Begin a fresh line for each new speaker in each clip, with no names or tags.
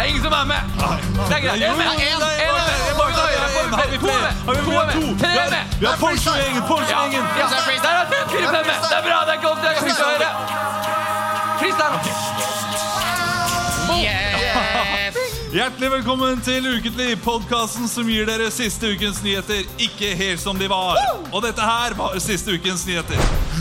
Det er ingen som er med! Det er greit. En med!
Jo, jo,
En med! En med! En med! En med! To med! To med! Tre med!
Vi har Porsgjengen!
Ja,
Porsgjengen!
ja. Der er tre, fire, fem med! Det er bra, det er godt, det er godt å høre! Kristian!
Yes!
Hjertelig velkommen til Ukentlig, podkasten som gir dere siste ukens nyheter ikke helt som de var. Og dette her var siste ukens nyheter.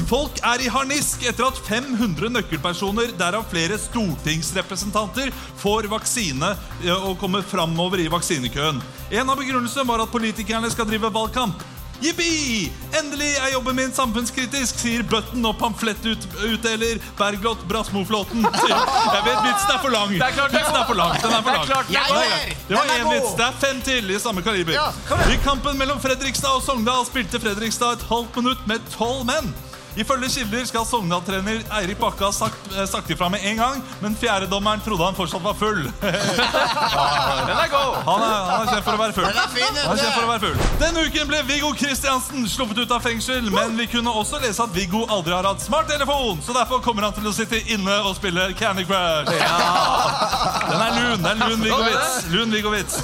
Folk er i harnisk etter at 500 nøkkelpersoner, derav flere stortingsrepresentanter, får vaksine eh, og kommer framover i vaksinekøen. En av begrunnelsene var at politikerne skal drive valgkamp. Jippi! Endelig er jobben min samfunnskritisk, sier Bøtten og pamflettutdeler Bergljot Brasmoflåten. Jeg vet vitsen er for lang.
Det er klart det er
vitsen er for lang. Den er for
Det
lang.
er klart det
Jeg
er
er
godt.
her!
Det var
Den er
én
god!
vits. Det er fem til i samme kaliber.
Ja, kom igjen.
I kampen mellom Fredrikstad og Sogndal spilte Fredrikstad et halvt minutt med tolv menn. Ifølge kilder skal Sogndal-trener Eirik Bakke ha sagt, eh, sagt ifra med en gang, men fjerdedommeren trodde han fortsatt var full.
Den er god!
Han er, han er kjent for å være full.
Den er fin,
Han er kjent for å
vet
være
du!
full. Denne uken ble Viggo Kristiansen sluppet ut av fengsel, men vi kunne også lese at Viggo aldri har hatt smarttelefon, så derfor kommer han til å sitte inne og spille Candy Crush. Den er lun, det er lun Viggo-vits. Lun Viggo-vits.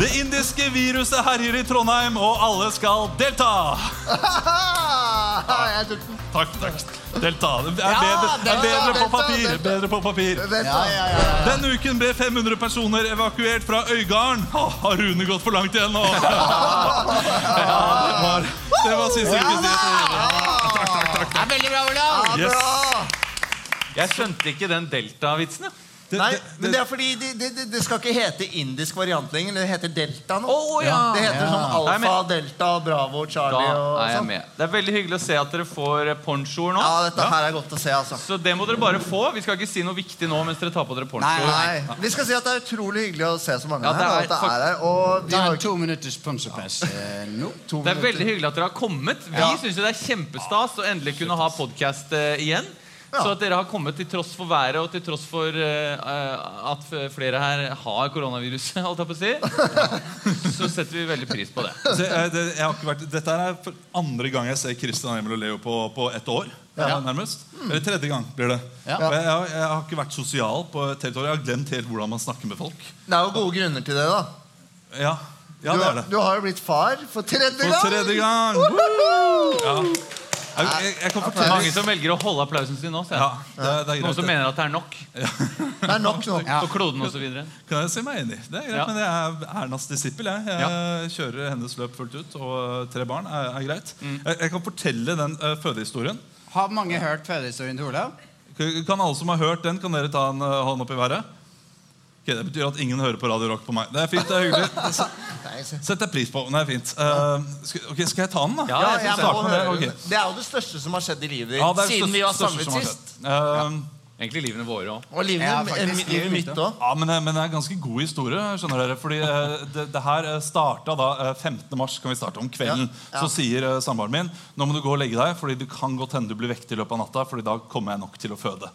Det indiske viruset herjer i Trondheim, og alle skal delta.
Ah, Jeg tok den.
Takk, takk. Delta. Det er
Ja,
bedre, er
delta,
bedre på
delta,
papir.
delta.
Bedre på papir.
Vent, da. Ja, ja, ja.
Denne uken ble 500 personer evakuert fra Øygarden. Åh, har Rune gått for langt igjen nå? Ja, det var, det var siste ukes nyheter.
Det er veldig bra,
Ah,
Olav!
Yes.
Jeg skjønte ikke den delta-vitsen. jeg.
Det-
Nei,
det-
men det er fordi det, det, det, det skal ikke hete indisk variant lenger. Det heter delta nå.
Å, ja.
Det heter sånn
Nei,
alfa,
men-
delta, bravo,
Da
charlie og
er jeg
sånn.
med. Det er veldig hyggelig å se at dere får eh, ponchoer nå.
Ja, dette her er godt å se, altså.
Så det må dere bare få. Vi skal ikke si noe viktig nå mens dere tar på dere ponchoer.
Nei, vi skal si at det er utrolig hyggelig å se så mange
Ja, det
her.
er
og at det er her. Og vi
Ta
har jo
en
ikke
to minutters pumsepress eh, nå.
Det
to
er
minutter.
veldig hyggelig at dere har kommet. Vi synes jo det er kjempestas å endelig kunne ha podkast igjen. Så at dere har kommet til tross for været og til tross for eh, eh, at f- flere her har koronaviruset, holdt jeg på å si, så setter vi veldig pris på det.
Så jeg, det, jeg har ikke vært, dette her er for andre gang jeg ser Christian Emil og Leo på, på ett år. eh,
Ja.
Nærmest. Eller tredje gang blir det.
Ja.
Og Jeg, jeg, har- jeg har ikke vært sosial på et helt år. Jeg har glemt helt hvordan man snakker med folk.
Det er jo gode grunner til det, da.
Ja, ja
Du,
det er det.
du har jo blitt far for tredje gang.
For tredje gang! Ja. Jeg, jeg, jeg kan fortelle
Mange som velger å holde applausen sin nå. ser
ja,
jeg.
det, er- det
Noen
er greit.
som mener at det er nok
Det er nok nå.
Ja.
på kloden osv.
Det kan jeg si meg enig i. Det er greit,
Ja.
men jeg er Ernas disippel. Jeg, jeg kjører hennes løp fullt ut, og eh, tre barn er, er greit. Jeg, jeg kan fortelle den eh, fødehistorien.
Har mange hørt fødehistorien til Olav?
Kan kan alle som har hørt den, kan dere ta en eh, hånd opp i været? Ok, det betyr at ingen hører på Radio Rock på meg. Det er fint, det er hyggelig. Det s-
Nei, se.
Setter jeg pris på. Det er fint. Eh, skal, ok, skal jeg ta den, da?
Ja,
Ja,
jeg
jeg
synes
må
det.
høre
Ok.
det. Det er jo det største som har skjedd i livet ditt
Ja, det er det største-
siden vi var
største
samlet
som har
sist.
skjedd. Eh,
Egentlig livene våre òg.
Og livet,
Ja,
eh,
faktisk.
mi- livet mitt òg.
Ja, men, det- men det er en ganske god historie, skjønner dere. Fordi eh, det, det her eh, starta da eh, 15. mars, kan vi starte om kvelden.
Ja, ja.
Så sier eh, samboeren min nå må du gå og legge deg, fordi du kan godt hende du blir vekket i løpet av natta. Fordi da kommer jeg nok til å føde.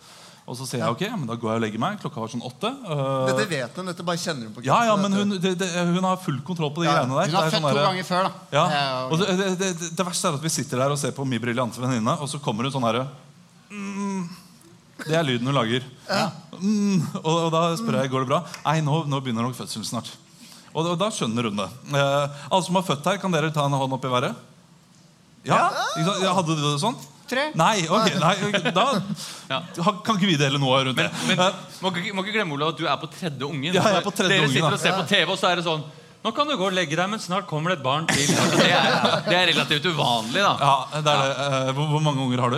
Og så sier jeg ok, men da går jeg og legger meg. Klokka var sånn åtte. eh,
Dette vet hun, dette bare kjenner hun på
ja, ja, men hun, det, det, hun har full kontroll på de
Ja,
greiene der. Det
Hun har
er
født
sånn
to
der-
ganger før, da.
ja.
Eh,
Og det, det, det, det verste er at vi sitter der og ser på min briljante venninne, og så kommer hun sånn herre mm, Det er lyden hun lager. Mm, og, og da spør jeg går det bra. Nei, nå, nå begynner nok fødselen snart. Og, da- og da skjønner hun det. Eh, alle som har født her, kan dere ta en hånd opp i været? Ja? Ikke sant? ja. Hadde du det sånn?
Tre.
Nei, ok, nei, ok, da
Ja.
ha- kan ikke vi dele noe rundt det.
Men
Eh,
må ikke, må ikke glemme Olav, at du er på tredje ungen.
Ja, jeg er på tredje
Dere
ungen,
sitter
da.
og ser på TV, og så er det sånn Nå kan du gå og legge deg, men snart kommer det et barn til. Altså, det, er, det er relativt uvanlig, da.
Ja, det er det. Eh, Hvor, hvor mange unger har du?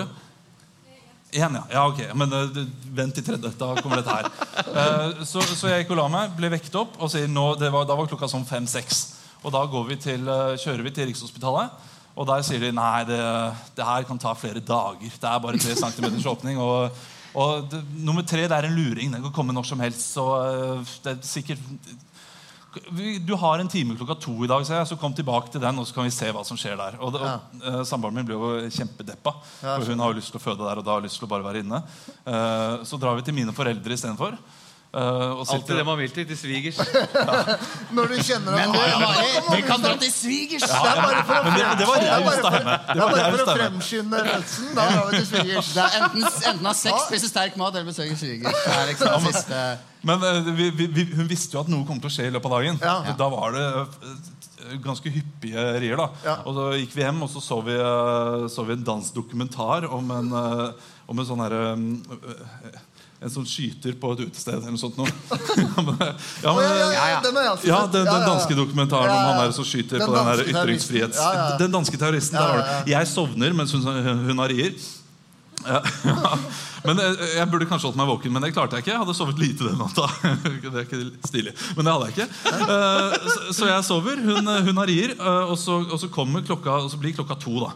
Én, ja. ja. Ok. Men eh, du- vent til tredje. Da kommer dette her. Eh, så, så jeg gikk og la meg, ble vekket opp, og sier nå, det var, da var klokka sånn fem-seks. Og da går vi til, eh, kjører vi til Rikshospitalet. Og der sier de nei, det, det her kan ta flere dager. Det er bare tre centimeters åpning. Og, og det, nummer tre det er en luring. Den kan komme når som helst. Så eh, det er sikkert Vi- Du har en time klokka to i dag, sa jeg, så kom tilbake til den, og så kan vi se hva som skjer der. Og, det- og eh, Samboeren min ble jo kjempedeppa, for hun har jo lyst til å føde der og da har lyst til å bare være inne. Eh, så drar vi til mine foreldre istedenfor. Uh, og
Alltid
sitter-
det man vil til. Til svigers.
Når du kjenner at Ja,
Det er
ja,
bare,
ja.
vi kan dra til svigers!
Det er bare for å
Men det, det var raust av henne. Det
det er
var raust
bare for å
av henne.
fremskynde fødselen. Da drar vi til svigers.
Det er enten, enten ha sex, spise sterk mat eller besøke sviger. Det er liksom det siste
Men eh, vi, vi, vi, hun visste jo at noe kom til å skje i løpet av dagen.
Ja.
Så Da var det eh, ganske hyppige rier. da
Ja.
Og så gikk vi hjem og så så vi, eh, så vi en dansk dokumentar om en, eh, om en sånn herre en som skyter på et utested eller noe sånt. Noe. ja, men, ja, men,
Å, ja, ja, ja, den har jeg også
ja,
sett.
den,
Ja,
den
ja, ja.
danske dokumentaren
Ja,
om
ja,
han
ja.
der som skyter
Den
på den her
danske terroristen.
ytringsfrihets...
Ja, ja, ja.
Den danske terroristen. der var det. Jeg sovner mens hun, hun har rier. Ja. Men eh, Jeg burde kanskje holdt meg våken, men det klarte jeg ikke. Jeg hadde sovet lite den natta. Det er ikke stilig, men det hadde jeg ikke. Eh, så- Så jeg sover, hun, hun har rier, eh, og så, og så, kommer klokka, og så blir klokka to. da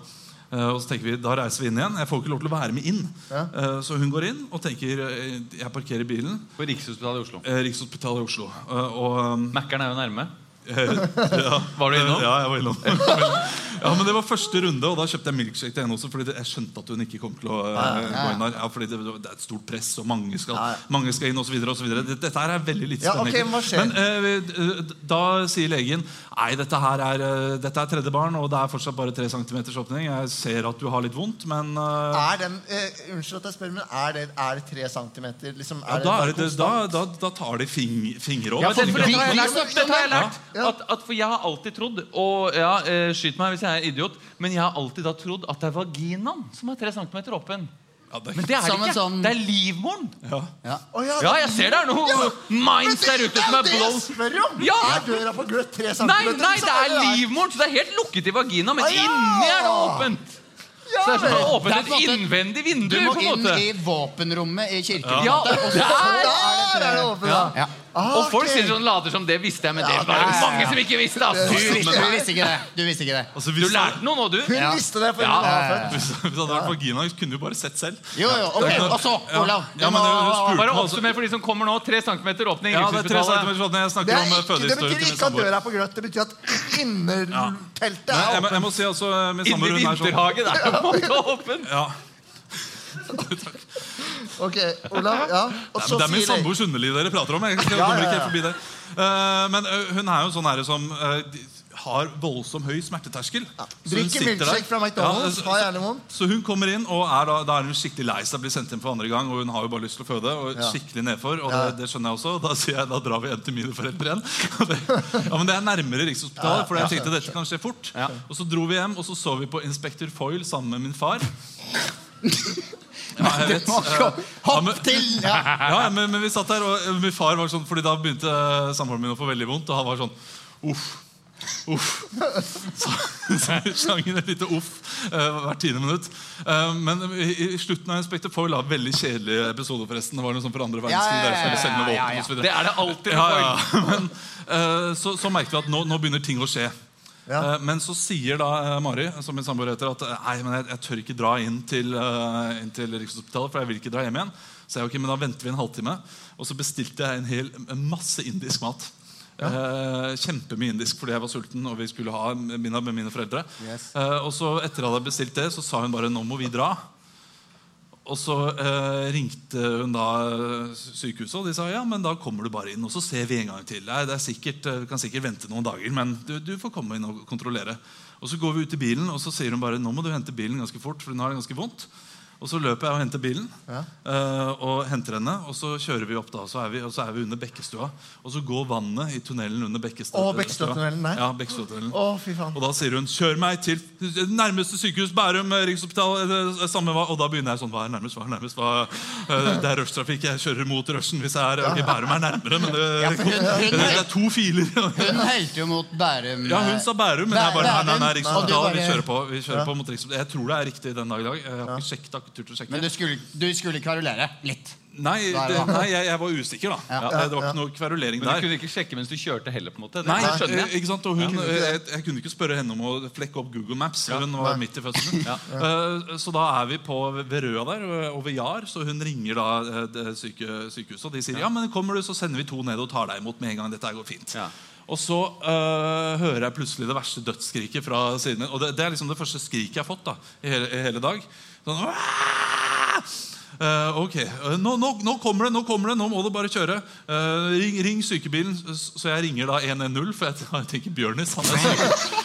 Eh, og så tenker vi, Da reiser vi inn igjen. Jeg får ikke lov til å være med inn. Eh, Så hun går inn og tenker eh, Jeg parkerer bilen.
På Rikshospitalet i Oslo.
eh, Rikshospitalet i Oslo. eh, Og eh,
Mækkern er jo nærme.
ja.
Var du innom?
Ja, jeg var innom. ja, men Det var første runde, og da kjøpte jeg milkshake til henne også. Fordi det- jeg skjønte at hun ikke kom til å eh, gå inn der. Ja, fordi det, det er et stort press, og mange skal, mange skal inn, osv. Dette her er veldig lite
Ja,
spennende.
ok, men hva skjer?
Men eh, vi- eh, da sier legen Nei, dette her er, eh, dette er tredje barn, og det er fortsatt bare 3 cm åpning. Jeg ser at du har litt vondt, men eh,
Er den, eh, unnskyld at jeg spør, men er det, er det tre centimeter? Liksom,
ja,
er
da, er
bare
det, da,
konstant?
da, da tar de fing, fingre
Ja,
opp.
men det, for dette har jeg
vi-
lært,
vi snakket om
dette har jeg
det.
lært
Ja.
at, at, For jeg har alltid trodd Og ja, eh, skyt meg hvis jeg er idiot Men jeg har alltid da trodd at det er vaginaen Som er 3 cm åpen
Ja, det-
Men det er det
Som en
ikke,
sånn-
det er livmoren
Å, ja,
Ja, jeg ser det er noe minds der ute som er
det jeg
blows
spør om!
Ja.
Er døra på gløtt tre
Nei,
centimeter? Sånn
nei, det
så
er
der.
livmoren Så det er helt lukket i vagina Men
Ah, ja!
inni er det åpent Så det er som å
Det
åpne
er på en
et
måte-
innvendig vindu
Du må
på en
inn
måte
i våpenrommet i kirken.
Ja, og der
Der er det åpent, ja.
Ja.
Ah,
Og folk
ok.
sitter sånn, later som det visste jeg Men det var
det
det
visste
mange som ikke visste ass.
Du
Du,
visste, du visste ikke det. Du visste ikke det.
Altså, hvis,
du lærte noe nå, du
Hun visste det, for
Ja.
hun var født.
hvis, hvis det hadde vært vagina, kunne du bare sett selv.
Jo, jo, ok. Og så, Olav.
Ja, men hun
Bare
spurte meg også-
oppsummer for de som kommer nå. 3 cm åpning. i
Ja, det er tre
Rikshospitalet.
centimeter sånn. Jeg
Det,
snakker
er
om eh,
ikke, det
fødehistorien
betyr
til min
ikke at
samboer.
døra er på gløtt. Det betyr at innerteltet
Nei,
er
jeg, må-
åpent.
jeg må si altså eh, Min
Inni
samboer hun er sånn
vinterhagen er det på en måte åpen.
ja.
Ok, Olav. Ja. Og så
Det er min
sier jeg
samboers underliv dere prater om. Jeg skal-
Ja,
kommer
ja,
ikke
ja.
helt forbi det Eh, Men eh, hun er jo sånn herre som eh, de- har voldsom høy smerteterskel. Så hun
Drikker
sitter der.
milkshake fra McDonald's,
Ja, altså,
har gjerne vondt.
Så hun kommer inn, og er da, da er hun skikkelig lei seg. Blir sendt inn for andre gang, og hun har jo bare lyst til å føde. Og skikkelig nedfor, og det, det skjønner jeg også. Da sier jeg, da drar vi hjem til mine foreldre igjen. Og det- ja, Men det er nærmere Rikshospitalet, for jeg tenkte dette kan skje fort. Og så dro vi hjem, og så så vi på Inspector Foyle sammen med min far. Ja, jeg vet. Eh, ja, men-
Til, ja.
ja, men, men vi satt der, og eh, min far var sånn Fordi da begynte eh, samboeren min å få veldig vondt, og han var sånn Uff. Uff. Så, så jeg slang inn et lite uff eh, hvert tiende minutt. Eh, men i, i slutten av Inspector Foyle har veldig kjedelig episode, forresten. Det var noe sånn for andre verdenskrig.
ja,
der
ja,
skulle selge med
ja,
våpen
ja, ja.
og så videre.
Det er det alltid.
Ja, ja, ja. Men, eh, så, så merket vi at nå, nå begynner ting å skje. Eh, men så sier da eh, Mari som min samboer heter, at eh, nei, men jeg, jeg tør ikke dra inn til, eh, inn til Rikshospitalet, for jeg vil ikke dra hjem igjen. Så jeg, ok, men da venter vi en halvtime. Og så bestilte jeg en hel en masse indisk mat. Eh, kjempemye indisk fordi jeg var sulten og vi skulle ha middag med mine foreldre. Eh, og så etter at jeg hadde bestilt det, så sa hun bare 'nå må vi dra'. Og så eh, ringte hun da eh, sykehuset, og de sa ja, men da kommer du bare inn. Og så ser vi en gang til. Nei, det er sikkert, eh, Vi kan sikkert vente noen dager, men du, du får komme inn og kontrollere. Og så går vi ut i bilen, og så sier hun bare nå må du hente bilen ganske fort. for hun har det ganske vondt. Og så løper jeg og henter bilen eh, og henter henne. Og så kjører vi opp, da, og så er vi, og så er vi under Bekkestua. Og så går vannet i tunnelen under Bekkestua.
Å, Bekkestuatunnelen, nei.
Ja, Bekkestuatunnelen.
Å, fy faen.
Og da sier hun 'kjør meg til nærmeste sykehus, Bærum, eh, Rikshospital'. eh, eh, Samme hva. Og da begynner jeg sånn 'hva er nærmest', hva er nærmest? Hva, eh, det er rushtrafikk, jeg kjører mot rushen hvis jeg er Ok, Bærum er nærmere, men det, det, det er to filer.
Hun helte jo mot Bærum.
Ja, hun sa Bærum, men jeg bare nei, nei, nei,
Og du
Rikshospitalet, vi
bare-
kjører på. Vi kjører på mot Rikshospitalet. Jeg tror det er riktig den dag i dag. Jeg har ikke sjekket, har ikke turt å sjekke.
Men du skulle, du skulle kverulere litt.
Nei,
Nei,
det,
da.
nei jeg, jeg var usikker, da. Ja, det var ikke noe kverulering
Men du
der.
kunne ikke sjekke mens du kjørte heller? på en måte. Det
Nei,
skjønner jeg.
eh, ikke sant? Og hun, eh, jeg, jeg kunne ikke spørre henne om å flekke opp Google Maps. for Hun var midt i fødselen. Eh, Så da er vi på ved Røa der, og- og ved Jar. Så hun ringer da eh, det syke, sykehuset, og de sier ja, men kommer du, så sender vi to ned og tar deg imot med en gang. Dette her går fint.
Ja.
Og så øh, hører jeg plutselig det verste dødsskriket fra siden min. Og det, det er liksom det første skriket jeg har fått da, i hele, i hele dag. Sånn, «Aah!» Eh, ok, eh, nå, nå, nå kommer det, nå kommer det, nå må du bare kjøre. Eh, ring, ring sykebilen. S- Så jeg ringer da 110, for jeg, jeg tenker Bjørnis han er, syke,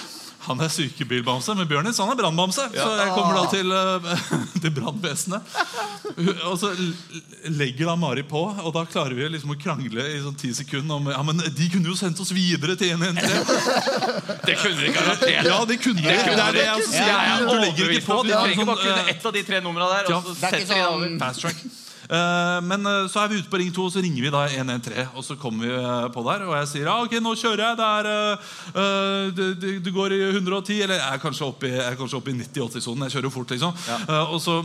han er sykebilbamse. Men Bjørnis han er brannbamse, så jeg kommer da
Ah.
til, eh, til brannvesenet. Og så l- legger da Mari på, og da klarer vi liksom å krangle i sånn ti sekunder om ja, men de kunne jo sendt oss videre til 113.
Det kunne de garantert.
Ja, de kunne det. Det er det jeg
Ja,
sier.
jeg er
Du legger
overbevist
ikke på.
om- Du
de har en
trenger bare
sånn, eh,
kunne ett av de tre numrene der.
ja.
Og så
Det er
setter
ikke
vi over.
sånn
Fast track. Eh, men eh, så er vi ute på Ring 2, og så ringer vi da 113. Og så kommer vi eh, på der, og jeg sier ja, ok, nå kjører jeg. Det er eh, eh, det, det, det går i 110, eller jeg er kanskje oppe i, jeg er kanskje oppe i 90-80-sonen. Jeg kjører jo fort, liksom. Eh, og så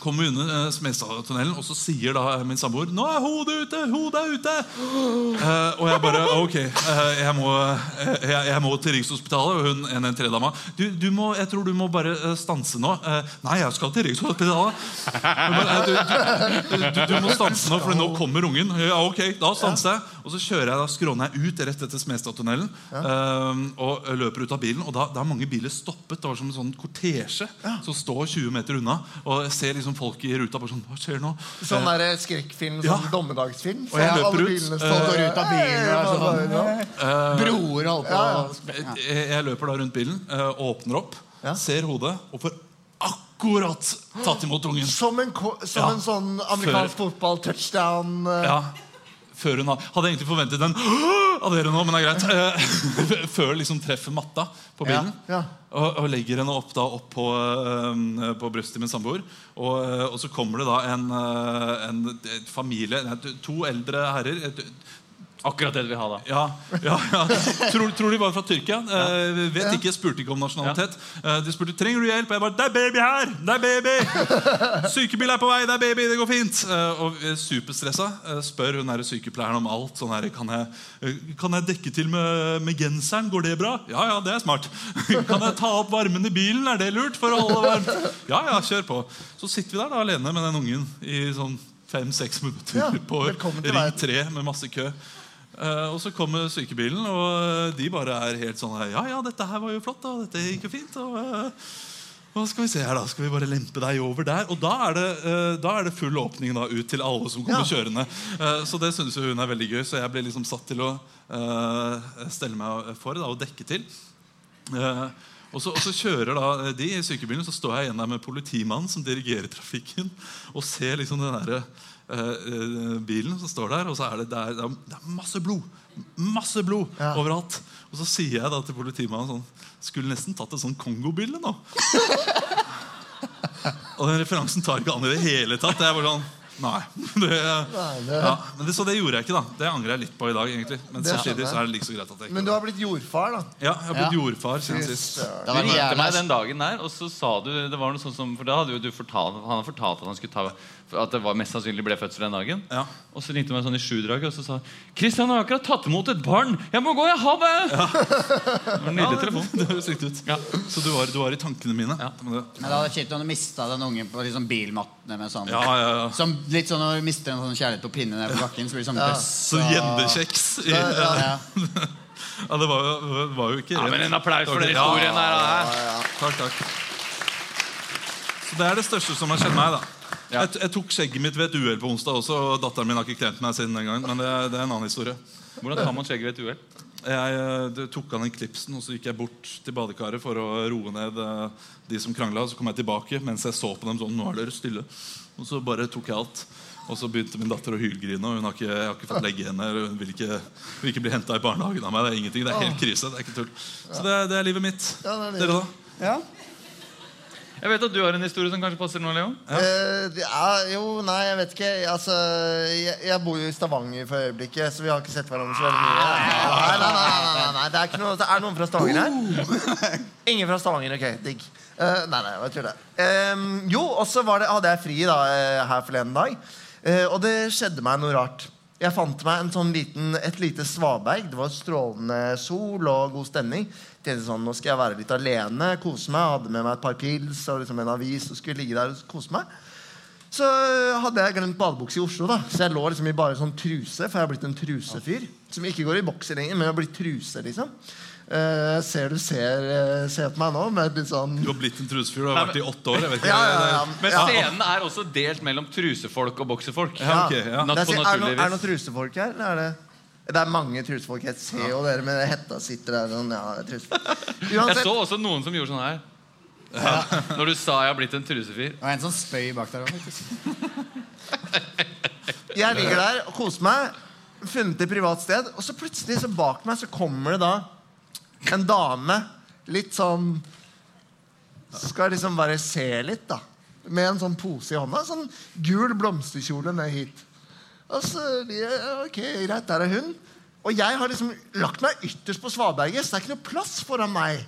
kommer vi under eh, Smestadtunnelen, og så sier da min samboer 'Nå er hodet ute! Hodet er ute!' Eh, og jeg bare Ok, eh, jeg, må, eh, jeg, jeg må til Rikshospitalet. Og hun 113-dama du, du må, 'Jeg tror du må bare eh, stanse nå.' Eh, 'Nei, jeg skal til Rikshospitalet.' Hun bare, «Nei, du, du, du, du må stanse nå, for nå kommer ungen. Ja, ok, da stanser jeg Og så kjører jeg da skråner jeg ut rett etter Smestadtunnelen eh, og løper ut av bilen. Og da, da er mange biler stoppet. Det var som en sånn kortesje som står 20 meter unna. Og jeg ser liksom folk i ruta bare sånn Hva skjer nå?
Sånn der skrekkfilm,
Ja.
sånn dommedagsfilm.
Og jeg
Så
løper
alle
ut,
bilene
eh,
Folk
står
går ut av bilen og er sånn
Ja.
Broer og alt på.
Jeg, jeg løper da rundt bilen, eh, åpner opp,
Ja.
ser hodet og får akkurat tatt imot ungen.
Som en, ko- som
Ja.
en sånn amerikansk fotball-touchdown. eh,
Ja, før hun hadde, hadde egentlig forventet den av dere nå, men det er greit. Eh, Før liksom treffer matta på bilen.
Ja, ja.
Og, og legger henne opp, da, opp på, eh, på brystet til min samboer. Og, eh, og så kommer det da en, eh, en et familie nei, To eldre herrer. Et,
Akkurat det du vil ha, da.
ja, ja, ja. Tror, tror de var fra Tyrkia. Eh, vet ikke, Spurte ikke om nasjonalitet. Eh, de spurte trenger du hjelp. Og jeg bare 'Det er baby her! Det er baby!' 'Sykebil er på vei! Det er baby! Det går fint!' Eh, og vi er superstressa eh, spør hun der sykepleieren om alt. Sånn her, kan, jeg, eh, 'Kan jeg dekke til med, med genseren? Går det bra?' 'Ja, ja, det er smart.' 'Kan jeg ta opp varmen i bilen? Er det lurt for å holde varmt?' 'Ja, ja, kjør på.' Så sitter vi der da alene med den ungen i sånn fem-seks minutter
Ja,
på
velkommen til
Ring
verden.
3 med masse kø. Eh, og så kommer sykebilen, og de bare er helt sånn her, Ja, ja, dette her var jo flott, da. Dette gikk jo fint. Og, eh, hva skal vi se her, da? Skal vi bare lempe deg over der? Og da er det, eh, da er det full åpning da, ut til alle som kommer kjørende. Eh, så det syns jo hun er veldig gøy, så jeg ble liksom satt til å eh, stelle meg for da, og dekke til. Eh, og, så, og så kjører da eh, de i sykebilen, så står jeg igjen der med politimannen som dirigerer trafikken, og ser liksom den derre eh, eh, bilen som står der, og så er det, det, er, det er- det er masse blod. Masse blod overalt. Og så sier jeg da til politimannen sånn Skulle nesten tatt et sånn Kongo-bilde nå. og den referansen tar ikke an i det hele tatt. Det er bare sånn Nei. Det, ja, men det, så det gjorde jeg ikke, da. Det angrer jeg litt på i dag. egentlig Men
Det
samtidig
skjønner
så er det like så greit at jeg ikke
Men du har blitt jordfar, da.
Ja, jeg har blitt
Ja.
jordfar siden sist.
Du
Det hadde vært
ringte
jævla-
meg den dagen der, og så sa du det var noe sånn som, For da hadde jo du fortalt, han hadde fortalt at han skulle ta At det var mest sannsynlig ble fødsel den dagen.
Ja.
Og så ringte han meg sånn i sjudraget og så sa han, 'Christian jeg har akkurat tatt imot et barn. Jeg må gå, jeg har det!' Det var en nydelig telefon.
Det høres riktig ut.
Ja.
Så du var, du var i tankene mine?
Ja.
Men det-
Men det hadde vært kjipt om du mista den ungen på liksom bilmattene. Med sånn.
Ja, ja, ja.
Som litt sånn når du mister en sånn kjærlighet på pinne nede på bakken. Så blir det sånn bøss.
Så gjendekjeks i-
Ja, ja.
Ja, det var jo, var jo ikke
Ja, men En applaus for den
Ja,
historien her. da.
Takk, takk. Så det er det største som har skjedd meg, da. Jeg, t- jeg tok skjegget mitt ved et uhell på onsdag også, og datteren min har ikke klemt meg siden den gang. Men det er, det er en annen historie.
Hvordan tar man skjegget ved et uhell?
Jeg eh, d- tok av den klipsen, og så gikk jeg bort til badekaret for å roe ned eh, de som krangla. Så kom jeg tilbake mens jeg så på dem sånn. Nå er dere stille. Og så bare tok jeg alt. Og så begynte min datter å hylgrine, og hun har ikke, jeg har ikke fått legge henne. eller Hun vil ikke, vil ikke bli henta i barnehagen av meg. Det er ingenting, det er helt krise. det er ikke tull. Så det, er- det er livet mitt.
Ja, det er livet.
Dere, da?
Jeg vet at du har en historie som kanskje passer nå, Leo.
Eh, det er- jo, nei, jeg vet ikke. Altså, jeg, jeg bor jo i Stavanger for øyeblikket, så vi har ikke sett hverandre så veldig mye. Nei, nei, nei, nei, nei, nei. Det er ikke noe, det er noen fra Stavanger her. Ingen fra Stavanger, ok, digg. Eh, nei, nei, jeg tuller. Um, jo, og så var det- hadde jeg fri da, eh, her forleden dag, Eh, og det skjedde meg noe rart. Jeg fant meg en sånn liten, et lite svaberg. Det var strålende sol og god stemning. Tenkte sånn, Nå skal jeg være litt alene, kose meg. Hadde med meg et par pils og liksom en avis og skulle ligge der og kose meg. Så hadde jeg glemt badebukse i Oslo, da. Så jeg lå liksom i bare sånn truse, for jeg har blitt en trusefyr. Som ikke går i bokser lenger, men jeg har blitt truse, liksom. Eh, ser du ser, eh, ser på meg nå med litt sånn
Du har blitt en trusefyr. Du har vært det i åtte år. jeg vet ikke.
Ja, ja, ja.
Det-
Men
ja.
scenen er også delt mellom trusefolk og boksefolk.
Ja, ok, ja.
Natt
Det
på
er, er, det noen, er
naturlig
det noen
vis.
trusefolk her? Eller er det, det er mange trusefolk. Jeg ser jo dere med hetta sitter der. Sånn, ja, det er trusefolk.
Jeg
Uansett,
så også noen som gjorde sånn her. Når du sa jeg har blitt en trusefyr.
Det var en som spøy bak der også, faktisk.
jeg ligger der og koser meg. Funnet et privat sted. Og så plutselig så bak meg så kommer det da en dame litt sånn Skal liksom bare se litt, da. Med en sånn pose i hånda. Sånn gul blomsterkjole ned hit. Og så ja, Ok, greit, der er hun. Og jeg har liksom lagt meg ytterst på svaberget, så det er ikke noe plass foran meg.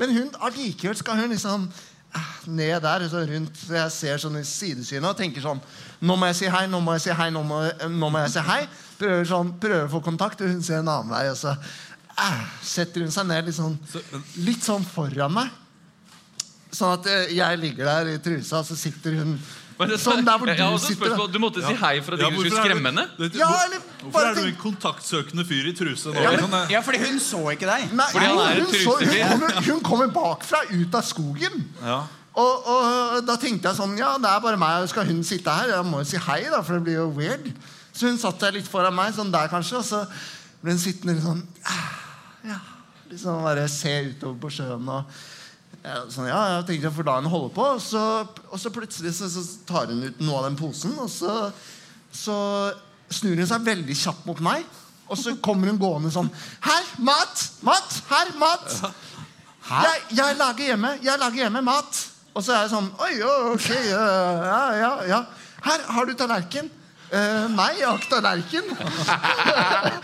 Men hun, allikevel skal hun liksom eh, ned der, så rundt, så jeg ser sånn i sidesynet og tenker sånn Nå må jeg si hei, nå må jeg si hei, nå må, eh, nå må jeg si hei. Prøver, sånn, prøver å få kontakt, og hun ser en annen vei, og så eh, setter hun seg ned litt sånn, litt sånn foran meg. Sånn at eh, jeg ligger der i trusa, og så sitter hun
Men det-
sånn der hvor
Jeg har
du
også et
sitter. da.
spørsmål. Du måtte si hei for at
Ja,
du ikke
hvorfor
skulle
er du-
skremme henne.
det-
Ja,
hvor-
eller
Hvorfor
bare
er du en
tenk-
kontaktsøkende fyr i truse nå?
men-
Sånn, eh,
Ja, fordi hun så ikke deg.
Nei,
Fordi han
jo,
er en
hun, så, hun,
trusefyr.
kommer, hun kommer bakfra, ut av skogen.
Ja.
Og, og da tenkte jeg sånn Ja, det er bare meg. Skal hun sitte her? Jeg må jo si hei, da, for det blir jo weird. Så hun satt der litt foran meg, sånn der kanskje, og så ble hun sittende litt sånn «Ah, Ja. Liksom bare se utover på sjøen og ja, sånn, ja, jeg tenkte jeg får la henne holde på. Og så, og så plutselig så, så tar hun ut noe av den posen, og så, så snur hun seg veldig kjapt mot meg. Og så kommer hun gående sånn Her, mat! Mat! Her, mat! Jeg, jeg lager hjemme. Jeg lager hjemme mat. Og så er jeg sånn Oi, ja, ok. øh, Ja, ja, ja. Her, har du tallerken? «Eh, nei, jeg har ikke tallerken.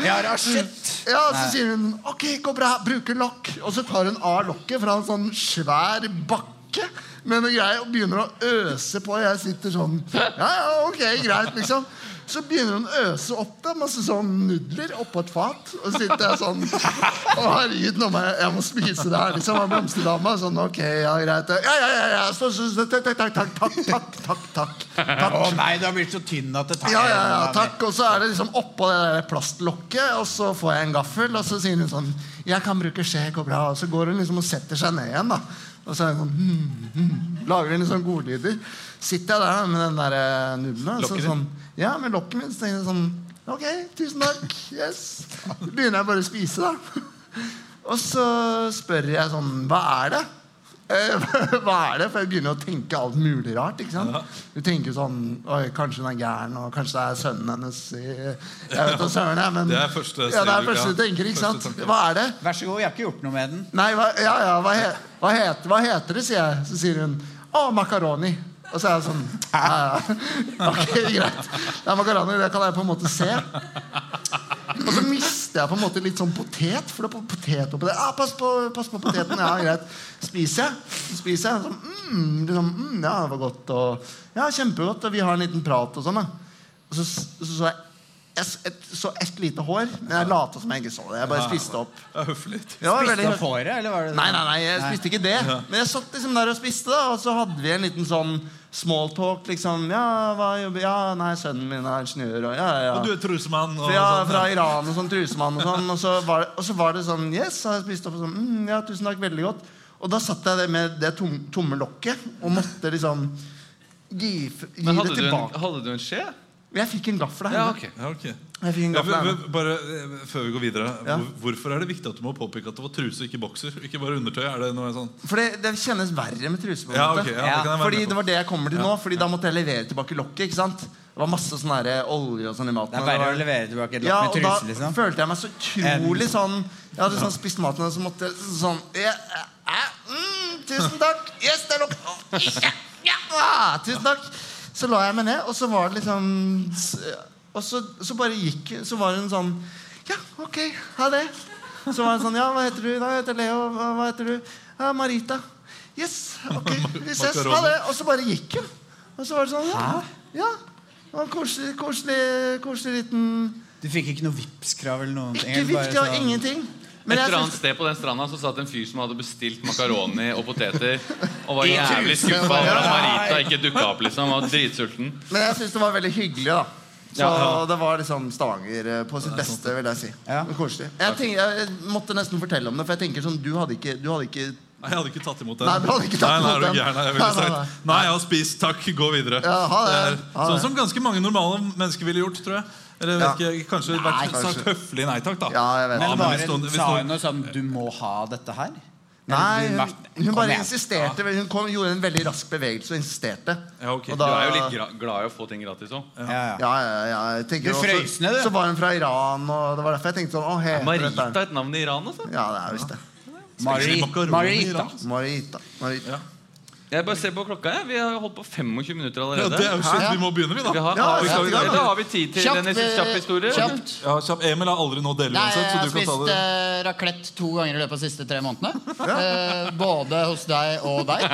Jeg har asjett.
Ja, og Så sier hun ok, går bra, bruker lokk. Og så tar hun av lokket fra en sånn svær bakke med noe greier og begynner å øse på. Jeg sitter sånn Ja, ja, ok, greit, liksom. Så begynner hun å øse opp da, masse sånn nudler oppå et fat. Og så sitter jeg sånn Å, herregud, nå må jeg, jeg må spise det her, liksom. Og blomsterdama sånn Ok, ja, greit. Ja, ja, ja. ja. Så, så, så, takk, takk, takk, takk, takk, takk, takk, takk.
Å nei, du har blitt så tynn at det tar
Ja, ja, ja, takk. Og så er det liksom oppå det der plastlokket, og så får jeg en gaffel, og så sier hun sånn 'Jeg kan bruke skje, går bra.' Og så går hun liksom og setter seg ned igjen, da. Og så er hun sånn hmm, hmm. Lager hun liksom godlyder. Sitter jeg der da, med den der eh, nudelen, og så
Lokket
sånn Ja, med lokket mitt, så tenker jeg sånn Ok, tusen takk. Yes. Så begynner jeg bare å spise, da. Og så spør jeg sånn Hva er det? Eh, Hva er det? For jeg begynner å tenke alt mulig rart. ikke sant? Du tenker sånn Oi, kanskje hun er gæren, og kanskje det er sønnen hennes i Jeg vet da søren, jeg, men
Det er første
ja, det
steg,
er første
ja.
du tenker. ikke
Første
sant?
tanke.
Hva er det?
Vær så god, jeg har ikke gjort noe med den.
Nei, hva, ja, ja, hva, he, hva, heter, hva heter det, sier jeg. Så sier hun Å, makaroni. Og så er jeg sånn ja, ja. Ok, greit. Det er makaroni, det kan jeg på en måte se. Og så mister jeg på en måte litt sånn potet. For det er på- potet oppi der. Ah, pass, på, pass på poteten. Ja, greit. Spiser jeg. Så Spiser jeg. Sånn, mm, liksom, mm, ja, det var godt. Og, ja, kjempegodt. Og vi har en liten prat og sånn. da. Og så så, så jeg jeg s- et, så ett lite hår. Men jeg lata som jeg ikke så det. Jeg bare spiste opp.
Det er høflig.
Ja, det var
Spiste
veldig-
opp håret, eller var det sånn?
Nei, nei, nei, jeg spiste ikke det. Men jeg satt liksom der og spiste, da, og så hadde vi en liten sånn smalltalk. Liksom, ja, hva jobber Ja, nei, sønnen min er ingeniør, og ja, ja.
Og du er trusemann. Og
ja,
sånn,
fra
ja.
Iran og sånn, trusemann og sånn. Og så var det, og så var det sånn Yes, har jeg spist opp? Og sånn, mm, ja, tusen takk, veldig godt. Og da satt jeg der med det tom, tomme lokket og måtte liksom gi, f- gi
Men
det
hadde du en,
tilbake.
hadde du en skje?
Jeg fikk en gaffel av
Ja,
henne.
ok.
Ja, ok.
Jeg fikk en
Ja,
gaffel av
men-
henne.
men bare eh, Før vi går videre.
Ja.
hvor- Hvorfor er det viktig at du må påpeke at det var truse, ikke bokser? Ikke bare undertøy? Er det noe sånn?
For det, det kjennes verre med truse. på en
Ja,
måte
ok, ja, det kan jeg
Ja,
være med
Fordi
på.
det var det jeg kommer til nå. Fordi da måtte jeg levere tilbake lokket. ikke sant? Det var masse sånn her olje og sånn i maten.
Det er
og
bare
det
å
var-
levere tilbake et
ja,
lokk
og
med
da
truse, liksom.
følte jeg meg så utrolig sånn Jeg hadde sånn spist maten, og så måtte jeg sånn jeg, jeg, mm, Tusen takk! Yes, det er lokk! Å, Ja, ja, ah, tusen takk! Så la jeg meg ned, og så var det liksom Og så, så bare gikk Så var hun sånn Ja, ok, ha det. Så var hun sånn Ja, hva heter du? Da heter jeg Leo. Hva, hva heter du? Ja, Marita. Yes, ok, vi ses. Ha det. Og så bare gikk hun. Og så var det sånn Ja. ja. Det var en koselig, koselig, koselig liten
Du fikk ikke noe Vipps-krav eller noen ting?
ikke
eller bare
viktig og
sånn-
ingenting.
Et
Men jeg
eller annet
synes-
sted på den stranda så satt en fyr som hadde bestilt makaroni og poteter. Og var
I
jævlig
trusen.
skuffa over at
Ja.
Marita ikke dukka opp. liksom Han var dritsulten.
Men jeg syns det var veldig hyggelig, da. Så
Ja.
det var liksom Stavanger eh, på sitt beste, vil jeg si. Men Koselig. Jeg, tenk, jeg måtte nesten fortelle om det, for jeg tenker sånn Du hadde ikke, du hadde ikke
Nei, jeg hadde ikke tatt imot den.
Nei, du hadde ikke
nei, nei,
tatt imot
er du
den.
gæren? Nei, jeg ville
Nei, nei,
sagt Nei, jeg har spist, takk, gå videre.
Ja, ha det.
Det er
Ha det.
Sånn som ganske mange normale mennesker ville gjort, tror jeg. Eller
Ja.
vet ikke, kanskje vært
kanskje.
sagt høflig nei takk, da.
Ja, jeg
Ja,
vet det.
Men
men hvis
bare
noen, hvis
sa
noen,
hun noe sånn Du må ha dette her?
Nei,
Eller,
hun,
Martin,
hun
kom
bare
igjen.
insisterte. Hun kom, gjorde en veldig rask bevegelse og insisterte.
ja, ok.
Du
Og da-
er jo litt gra glad i å få ting gratis òg.
Ja,
Ja,
ja.
ja, ja. Jeg tenker
Du
også-
frøys ned, du.
Så var hun fra Iran, og det var derfor jeg tenkte sånn Å, heter
Marita
dette her?
er et navn i Iran, altså.
Ja, det er visst det.
Spiser de makaroni
Mari-
i
Marita.
Iran?
Marita. Marita.
Ja.
Jeg bare ser på klokka. Jeg. Vi har holdt på 25 minutter
ja, det er
allerede.
jo shit, vi må begynne, vi,
Vi
da.
har,
Ja,
har vi,
ja, ja, ja.
da har vi tid til
Kjapt,
en siste
eh,
kjapp historie. eller?
Kjapt.
Ja, kjapp. Emil har aldri nådd dele
Nei, jeg
uansett, så
har
du kan
spist
ta det.
eh, raclette to ganger i løpet av de siste tre månedene. Eh, både hos deg og deg.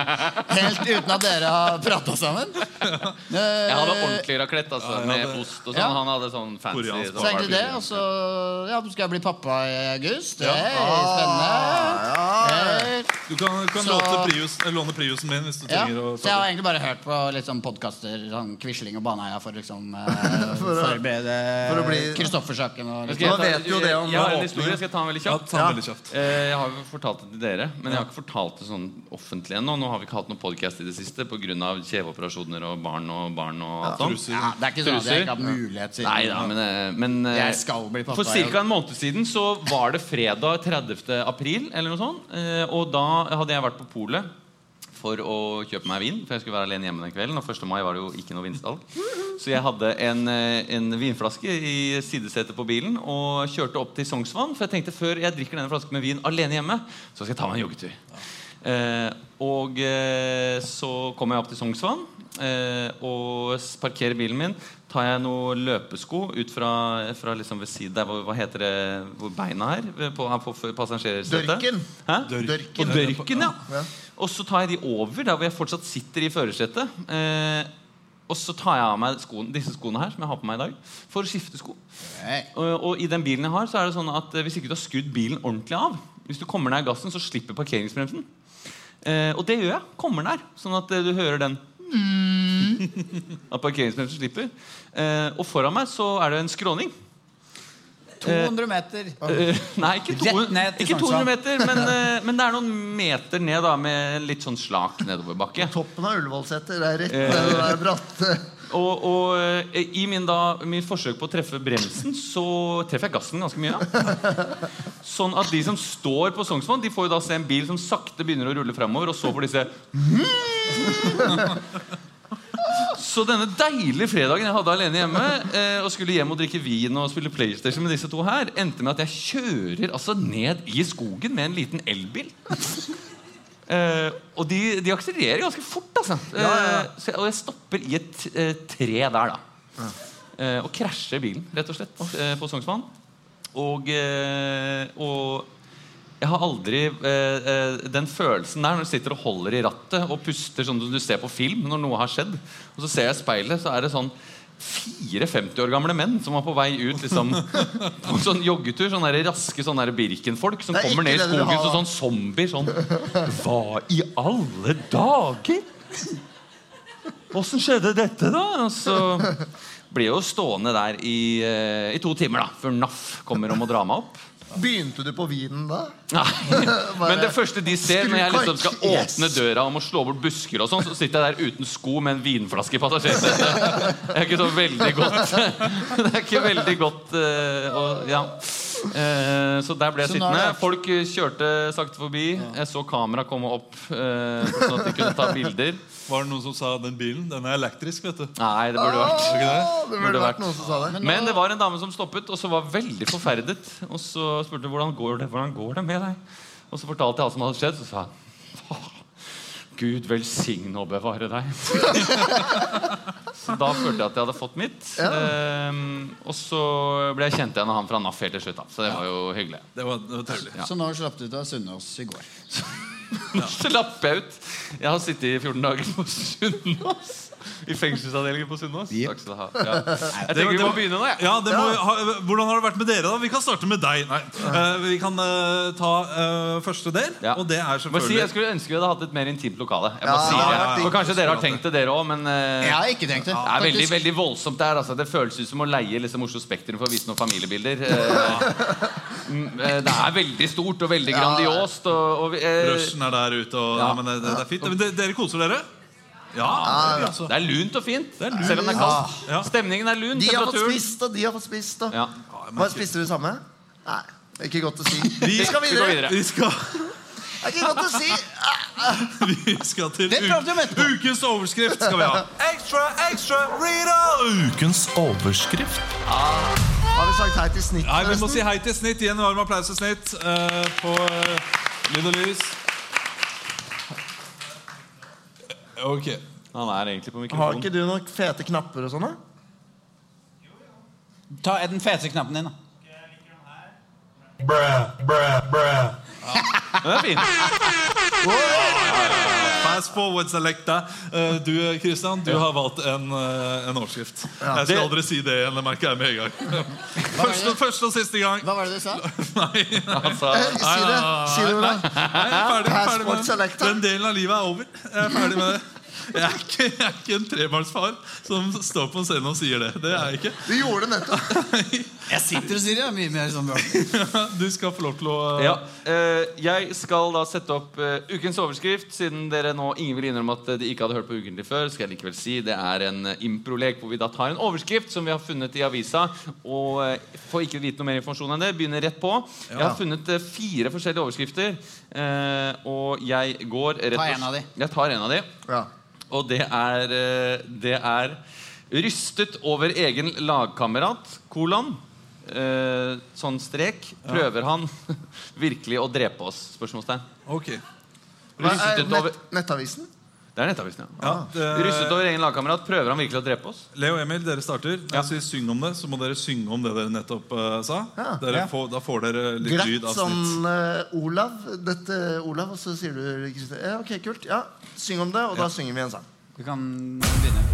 Helt uten at dere har prata sammen. Eh,
Jeg hadde ordentlig raclette altså,
jeg
med
hadde-
ost og sånn.
Ja.
Han hadde sånn fancy
Koreansk.
sånn
så egentlig det,
barbecue.
og så ja, så skal jeg bli pappa i august.
Ja.
Hey, spennende. Hey.
Du kan, kan
Så-
låte prius, eh, låne priusen min hvis du
Ja,
trenger å
så jeg har egentlig bare hørt på litt sånn podkaster, sånn Quisling og Baneheia, for liksom eh,
For å-
forberede
for å
Eh,
bli-
Kristoffer-saken og sånn.
Skal jeg
Man
ta-
vet jo det om
Jeg har en
åpninger.
historie. Skal jeg ta den veldig
Ja,
kjapt?
ta den veldig kjapt.
Eh, Jeg har jo fortalt det til dere, men jeg har ikke fortalt det sånn offentlig ennå. Nå har vi ikke hatt noen podkast i det siste pga. kjeveoperasjoner og barn og barn og alt sånt.
Truser.
Ja, det er ikke sånn at jeg ikke har mulighet til
Nei da, men, eh, men eh,
Jeg skal bli pappa,
For
jeg.
ca. en måned siden så var det fredag 30. april, eller noe sånt. eh, Og da hadde jeg vært på polet for å kjøpe meg vin, for jeg skulle være alene hjemme den kvelden. Og 1. mai var det jo ikke noe vinstall. Så jeg hadde en, eh, en vinflaske i sidesetet på bilen og kjørte opp til Sognsvann. For jeg tenkte før jeg drikker denne flasken med vin alene hjemme, så skal jeg ta meg en joggetur. Eh, og eh, så kommer jeg opp til Sognsvann eh, og s- parkerer bilen min. Tar jeg noen løpesko ut fra, fra liksom ved siden der, hvor- hva heter det, hvor beina er? Ved- På, her på f- passasjersetet.
Dørken.
Hæ?
Dørken.
På dørken, ja.
Ja.
Og så tar jeg de over der hvor jeg fortsatt sitter i førersetet. Eh, og så tar jeg av meg skoen, disse skoene her som jeg har på meg i dag, for å skifte sko.
Nei.
Og, og i den bilen jeg har, så er det sånn at eh, hvis ikke du har skrudd bilen ordentlig av, hvis du kommer nær gassen, så slipper parkeringsbremsen. Eh, og det gjør jeg. Kommer nær. Sånn at eh, du hører den At parkeringsbremsen slipper. Eh, og foran meg så er det en skråning.
200 meter.
Eh, nei, ikke
Rett
200,
ned til
ikke
Sognsvann.
200 meter, men, eh, men det er noen meter ned da med litt sånn slak nedoverbakke.
Toppen av Ullevålseter. Det er rett
Eh.
ned det der bratte
Og, og eh, i min, da, min forsøk på å treffe bremsen, så treffer jeg gassen ganske mye. ja. Sånn at de som står på Sognsvann, De får jo da se en bil som sakte begynner å rulle framover, og så får de se Så denne deilige fredagen jeg hadde alene hjemme, eh, og skulle hjem og drikke vin og spille PlayStation med disse to her, endte med at jeg kjører altså ned i skogen med en liten elbil. Eh, og de, de akselererer ganske fort, altså. Eh, så jeg, og jeg stopper i et eh, tre der, da. Eh, og krasjer bilen, rett og slett, eh, på Sognsvann. Og, eh, og jeg har aldri eh, eh, den følelsen der når du sitter og holder i rattet og puster sånn som du ser på film når noe har skjedd. Og så ser jeg i speilet, så er det sånn fire 50 år gamle menn som var på vei ut liksom, på en sånn joggetur. Sånne der raske sånne der Birken-folk som
Det er
kommer ned i
ikke det du
skogen
vil ha,
som
da.
sånn zombier. Sånn Hva i alle dager? Åssen skjedde dette, da? Altså, Og så ble jeg jo stående der i, eh, i to timer, da, før NAF kommer om å dra meg opp.
Begynte du på vinen da?
Nei, Men det første de ser når jeg liksom skal
Yes.
åpne døra om å slå bort busker, og sånn, så sitter jeg der uten sko med en vinflaske i passasjersetet. Det er ikke så veldig godt Det er ikke veldig godt eh, å- ja. Eh, Så der ble jeg
Så nå er
sittende.
det-
Folk eh, kjørte sakte forbi. Jeg så kamera komme opp, eh, sånn at de kunne ta bilder.
Var det noen som sa den bilen? Den er elektrisk, vet du.
Nei, det burde vært
Var det ikke det?
Å, det burde vært noen som sa det.
Men det var en dame som stoppet og så var veldig forferdet. Og så spurte hun hvordan går det hvordan går det med deg. Og så fortalte jeg alt som hadde skjedd. Så sa hun Gud velsigne og bevare deg. så da følte jeg at jeg hadde fått mitt. Ehm, og så ble jeg kjent igjen av han fra NAF helt til slutt. da Så det var jo hyggelig.
Det var, det var trivelig.
Så nå slapp du ut av Sunnaas i går.
Nå slapp jeg ut. Jeg har sittet i 14 dager på Sunnaas. I fengselsavdelingen på Sunnaas. Takk skal du ha. Ja. Jeg tenker vi må begynne nå. jeg.
Ja, det må, ha, Hvordan har det vært med dere, da? Vi kan starte med deg. Nei. Eh, vi kan eh, ta eh, første del,
Ja.
og det er
Må si, jeg
selvfølgelig
skulle ønske vi hadde hatt et mer intimt lokale. Jeg må
Ja,
si
det hadde
det.
vært digg.
For kanskje dere har tenkt det, dere òg, men eh,
Jeg har ikke tenkt det.
Det er veldig,
faktisk.
veldig voldsomt der. Altså. Det føles ut som å leie liksom, Oslo Spektrum for å vise noen familiebilder. Eh, mm, eh, Det er veldig stort og veldig grandiost. Og, og, vi- eh,
Rushen er der ute, og
Ja.
ja. men det, det, det er fint. Men de- dere koser dere? Ja. det, altså.
det er lunt og fint,
er lunt.
selv om det er kaldt.
Ja.
Stemningen er lun.
De har fått
Temperaturen
spist, og de har fått spist. Og.
Ja.
Hva spiste du samme? Nei, det er ikke godt å si.
Vi
Vi skal
Vi går videre.
videre.
Vi skal,
Det er ikke godt å si.
vi skal til
Det prater vi om etterpå.
ukens overskrift. skal vi ha Ekstra, ekstra, Rita! Ukens overskrift.
Har vi sagt hei til snitt?
Nei, vi må
forresten?
si hei til Snitt. Gi en varm applaus til Snitt eh, på eh, Lyd og Lys. Ok.
Han er egentlig på
Har
mikrofonen.
ikke du noen fete knapper og sånn? da?
Ta den fete knappen din, da.
Men det er fint.
Fast forward selecta. Eh, du, Kristian, du har valgt en, eh, en overskrift. Jeg skal
Det-
aldri si det igjen. Det merker jeg med en gang.
Hva var
Første,
det,
første og siste gang.
hva var det du sa?
Nei,
Altså,
Eh, Si det. Si det Ola.
Nei, jeg er ferdig, jeg er ferdig
Passport
med det.
selecta.
Den delen av livet er over. Jeg er ferdig med det. Jeg er ikke, jeg er ikke en trebarnsfar som står på en scene og sier det. Det er jeg ikke.
Du gjorde det nettopp.
Jeg sitter og sier det. er Mye mer sånn bra.
Du skal få lov til å
ja. eh, jeg skal da sette opp eh, ukens overskrift. Siden dere nå ingen vil innrømme at eh, de ikke hadde hørt på Ukentlig før, skal jeg likevel si det er en eh, improlek hvor vi da tar en overskrift som vi har funnet i avisa. Og eh, får ikke vite noe mer informasjon enn det. Begynner rett på. Jeg har funnet eh, fire forskjellige overskrifter, eh, og jeg går rett
Ta
og-
en av de.
Jeg tar en av de.
Ja.
Og det er, eh, det er Rystet over egen lagkamerat, kolon. Eh, sånn strek. Prøver han virkelig å drepe oss? Spørsmålstegn.
Ok.
Hva er
Rystet over,
nett, nettavisen?
det er nettavisen, ja.
Ja,
Rystet
det,
over egen lagkamerat. Prøver han virkelig å drepe oss?
Leo og Emil, dere starter. Når
Ja.
jeg sier syng om det, så må dere synge om det dere nettopp eh, sa.
Ja.
Dere
Ja.
Får, da får dere litt
Glatt
lyd av
som
snitt.
eh, Olav. Dette er Olav, og så sier du Kristin. Ja, ok, kult. Ja, syng om det, og da synger vi en sang.
Du kan begynne.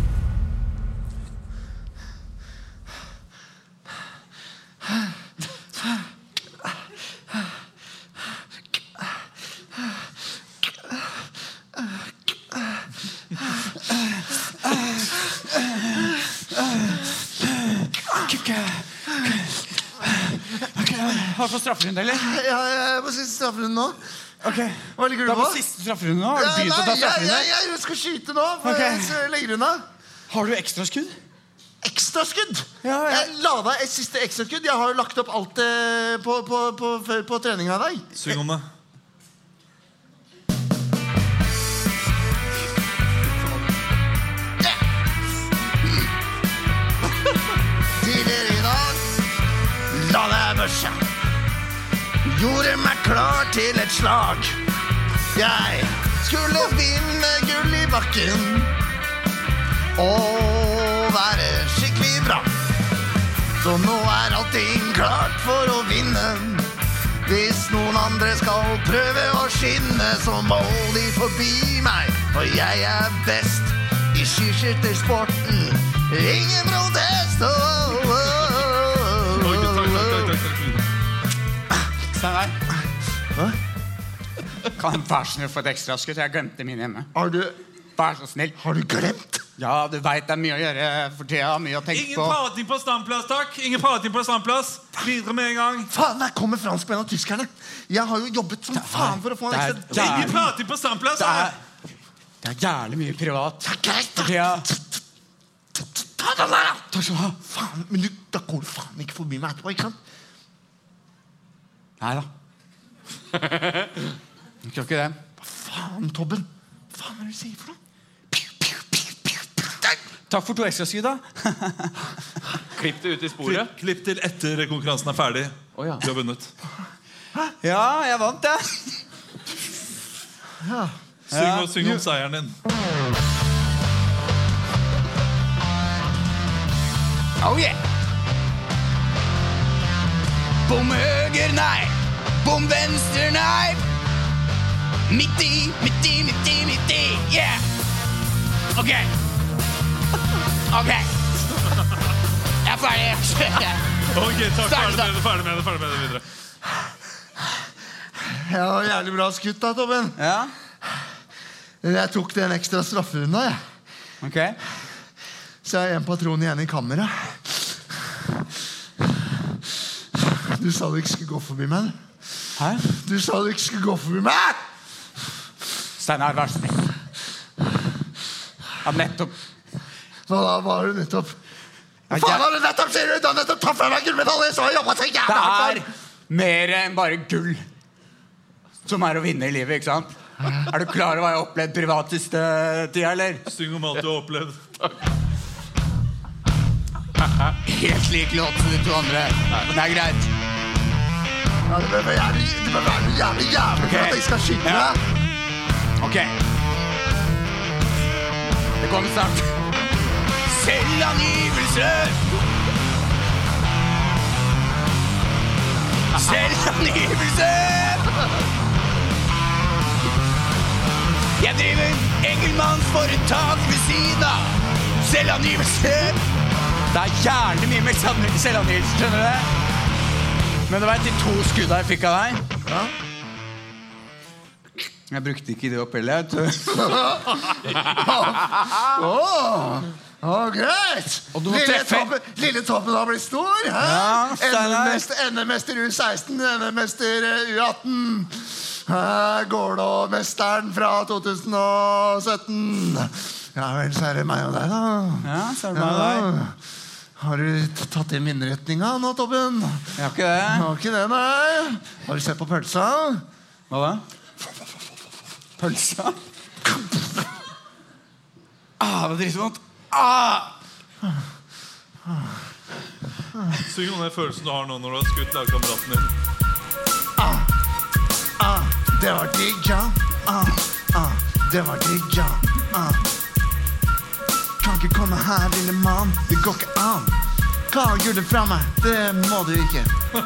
Har du fått strafferunde, eller?
Ja, jeg må si strafferunde nå.
Ok,
Hva ligger
Da
du
på
på?
siste strafferunde nå. Har
Ja,
du begynt å ta
nei, jeg,
strafferunde?
jeg, jeg skal skyte nå. For
Ok.
jeg så legger unna.
Har du ekstraskudd?
Ekstraskudd!
Ja, ja.
Jeg la deg et siste ekstraskudd. Jeg har jo lagt opp alt eh, på, på, på, før- på treninga i dag.
Syng om det.
Tidligere i dag la jeg børsa. Gjorde meg klar til et slag. Jeg skulle vinne gull i bakken og være skikkelig bra. Så nå er allting klart for å vinne. Hvis noen andre skal prøve å skinne, så må de forbi meg. For jeg er best i skiskyttersporten. Ingen protest! Oh, oh, oh,
Oi, takk, takk,
oh,
takk,
oh.
takk, takk.
Steinar. Kan vær så snill få et ekstraskudd? Jeg glemte mine hjemme.
Har du,
Vær så snill.
har du glemt?
Ja, du veit det er mye å gjøre for tida. Mye å tenke
Ingen
på.
prating på standplass, takk! Ingen prating på standplass. Videre med en gang.
Faen, der kommer franskmennene og tyskerne! Jeg har jo jobbet som faen for å få en
der-
ekstra
der-
Ingen prating på standplass!
Det er, det er jævlig mye privat.
Det er greit,
For
da!
tida.
Ta den der, da!
Takk skal du ha.
Faen, men du, da går du faen ikke forbi meg etterpå, ikke sant?
Nei da. Du kan ikke det.
Faen, Tobben! Faen, hva er det du sier for noe? Piu, piu, piu, piu, piu. Der!
Takk for to ekstraskudd, da.
Klipp det ut i sporet.
Klipp, klipp til etter konkurransen er ferdig.
Å, ja.
Du har vunnet.
Ja, jeg vant, jeg.
Syng, og- syng om seieren din.
Oh yeah! Bom høger, nei. Bom venstre, nei.
Midt i, midt i, midt i, midt i. Yeah! OK. OK. Jeg er ferdig.
Ok, takk. Ferdig med
Ferdig,
det, ferdig med det, ferdig med det videre.
Ja, det var jævlig bra skutt da, Tobben.
Ja,
Jeg tok den ekstra strafferunda, jeg.
ok.
Så jeg har en patron igjen i kammeret. Du sa du ikke skulle gå forbi meg. du.
Hæ?
Du sa du ikke skulle gå forbi meg!
Steinar, vær snill. Ja, nettopp.
Hva da? Hva har du nettopp? Hva
Ja,
faen
jeg-
har du nettopp, sier du? Du har nettopp tatt fra meg gullmedalje! Så har jeg jobbet så jævlig
Det
hardt
er
for!
mer enn bare gull som er å vinne i livet, ikke sant? Er du klar over hva jeg har opplevd privat siste tida, eller?
Syng om alt du har opplevd.
Helt lik låt som de to andre. Men det er greit.
Ja, det bør være jævlig, det bør være jævlig, jævlig for at jeg skal skyte
Ja.
deg.
Ok. Det kommer snart.
Selvangivelse! Selvangivelse! Jeg driver enkeltmannsforetak ved siden av. Selvangivelse!
Det er gjerne mye mer selv- selvangivelse, skjønner du det? Men du vet de to skudda jeg fikk av deg? Jeg brukte ikke det opp heller. vet du.
Å, greit!
Og du må
Lille
treffe-
toppen, lille toppen har blitt stor. Hæ?
Ja, Steinar.
NM-mester NM-mester U16, NM-mester eh, U18. Hæ, Gålå-mesteren fra 2017. Ja vel, så er det meg og deg, da.
Ja, så er det bare deg.
Har du t- tatt inn vindretninga nå, Tobben?
Jeg har ikke det.
Har ikke det, nei. Har du sett på pølsa?
Hva da? Pølsa? Ah, det var dritvondt. Ah!
Syng om den følelsen du har nå når du har skutt lagkameraten din.
Uh, Det var digg, ja. Ah, ah, det var digg, ja. Ah. Kan ikke komme her, lille mann. Det går ikke an. Ta gullet fra meg. Det må du ikke.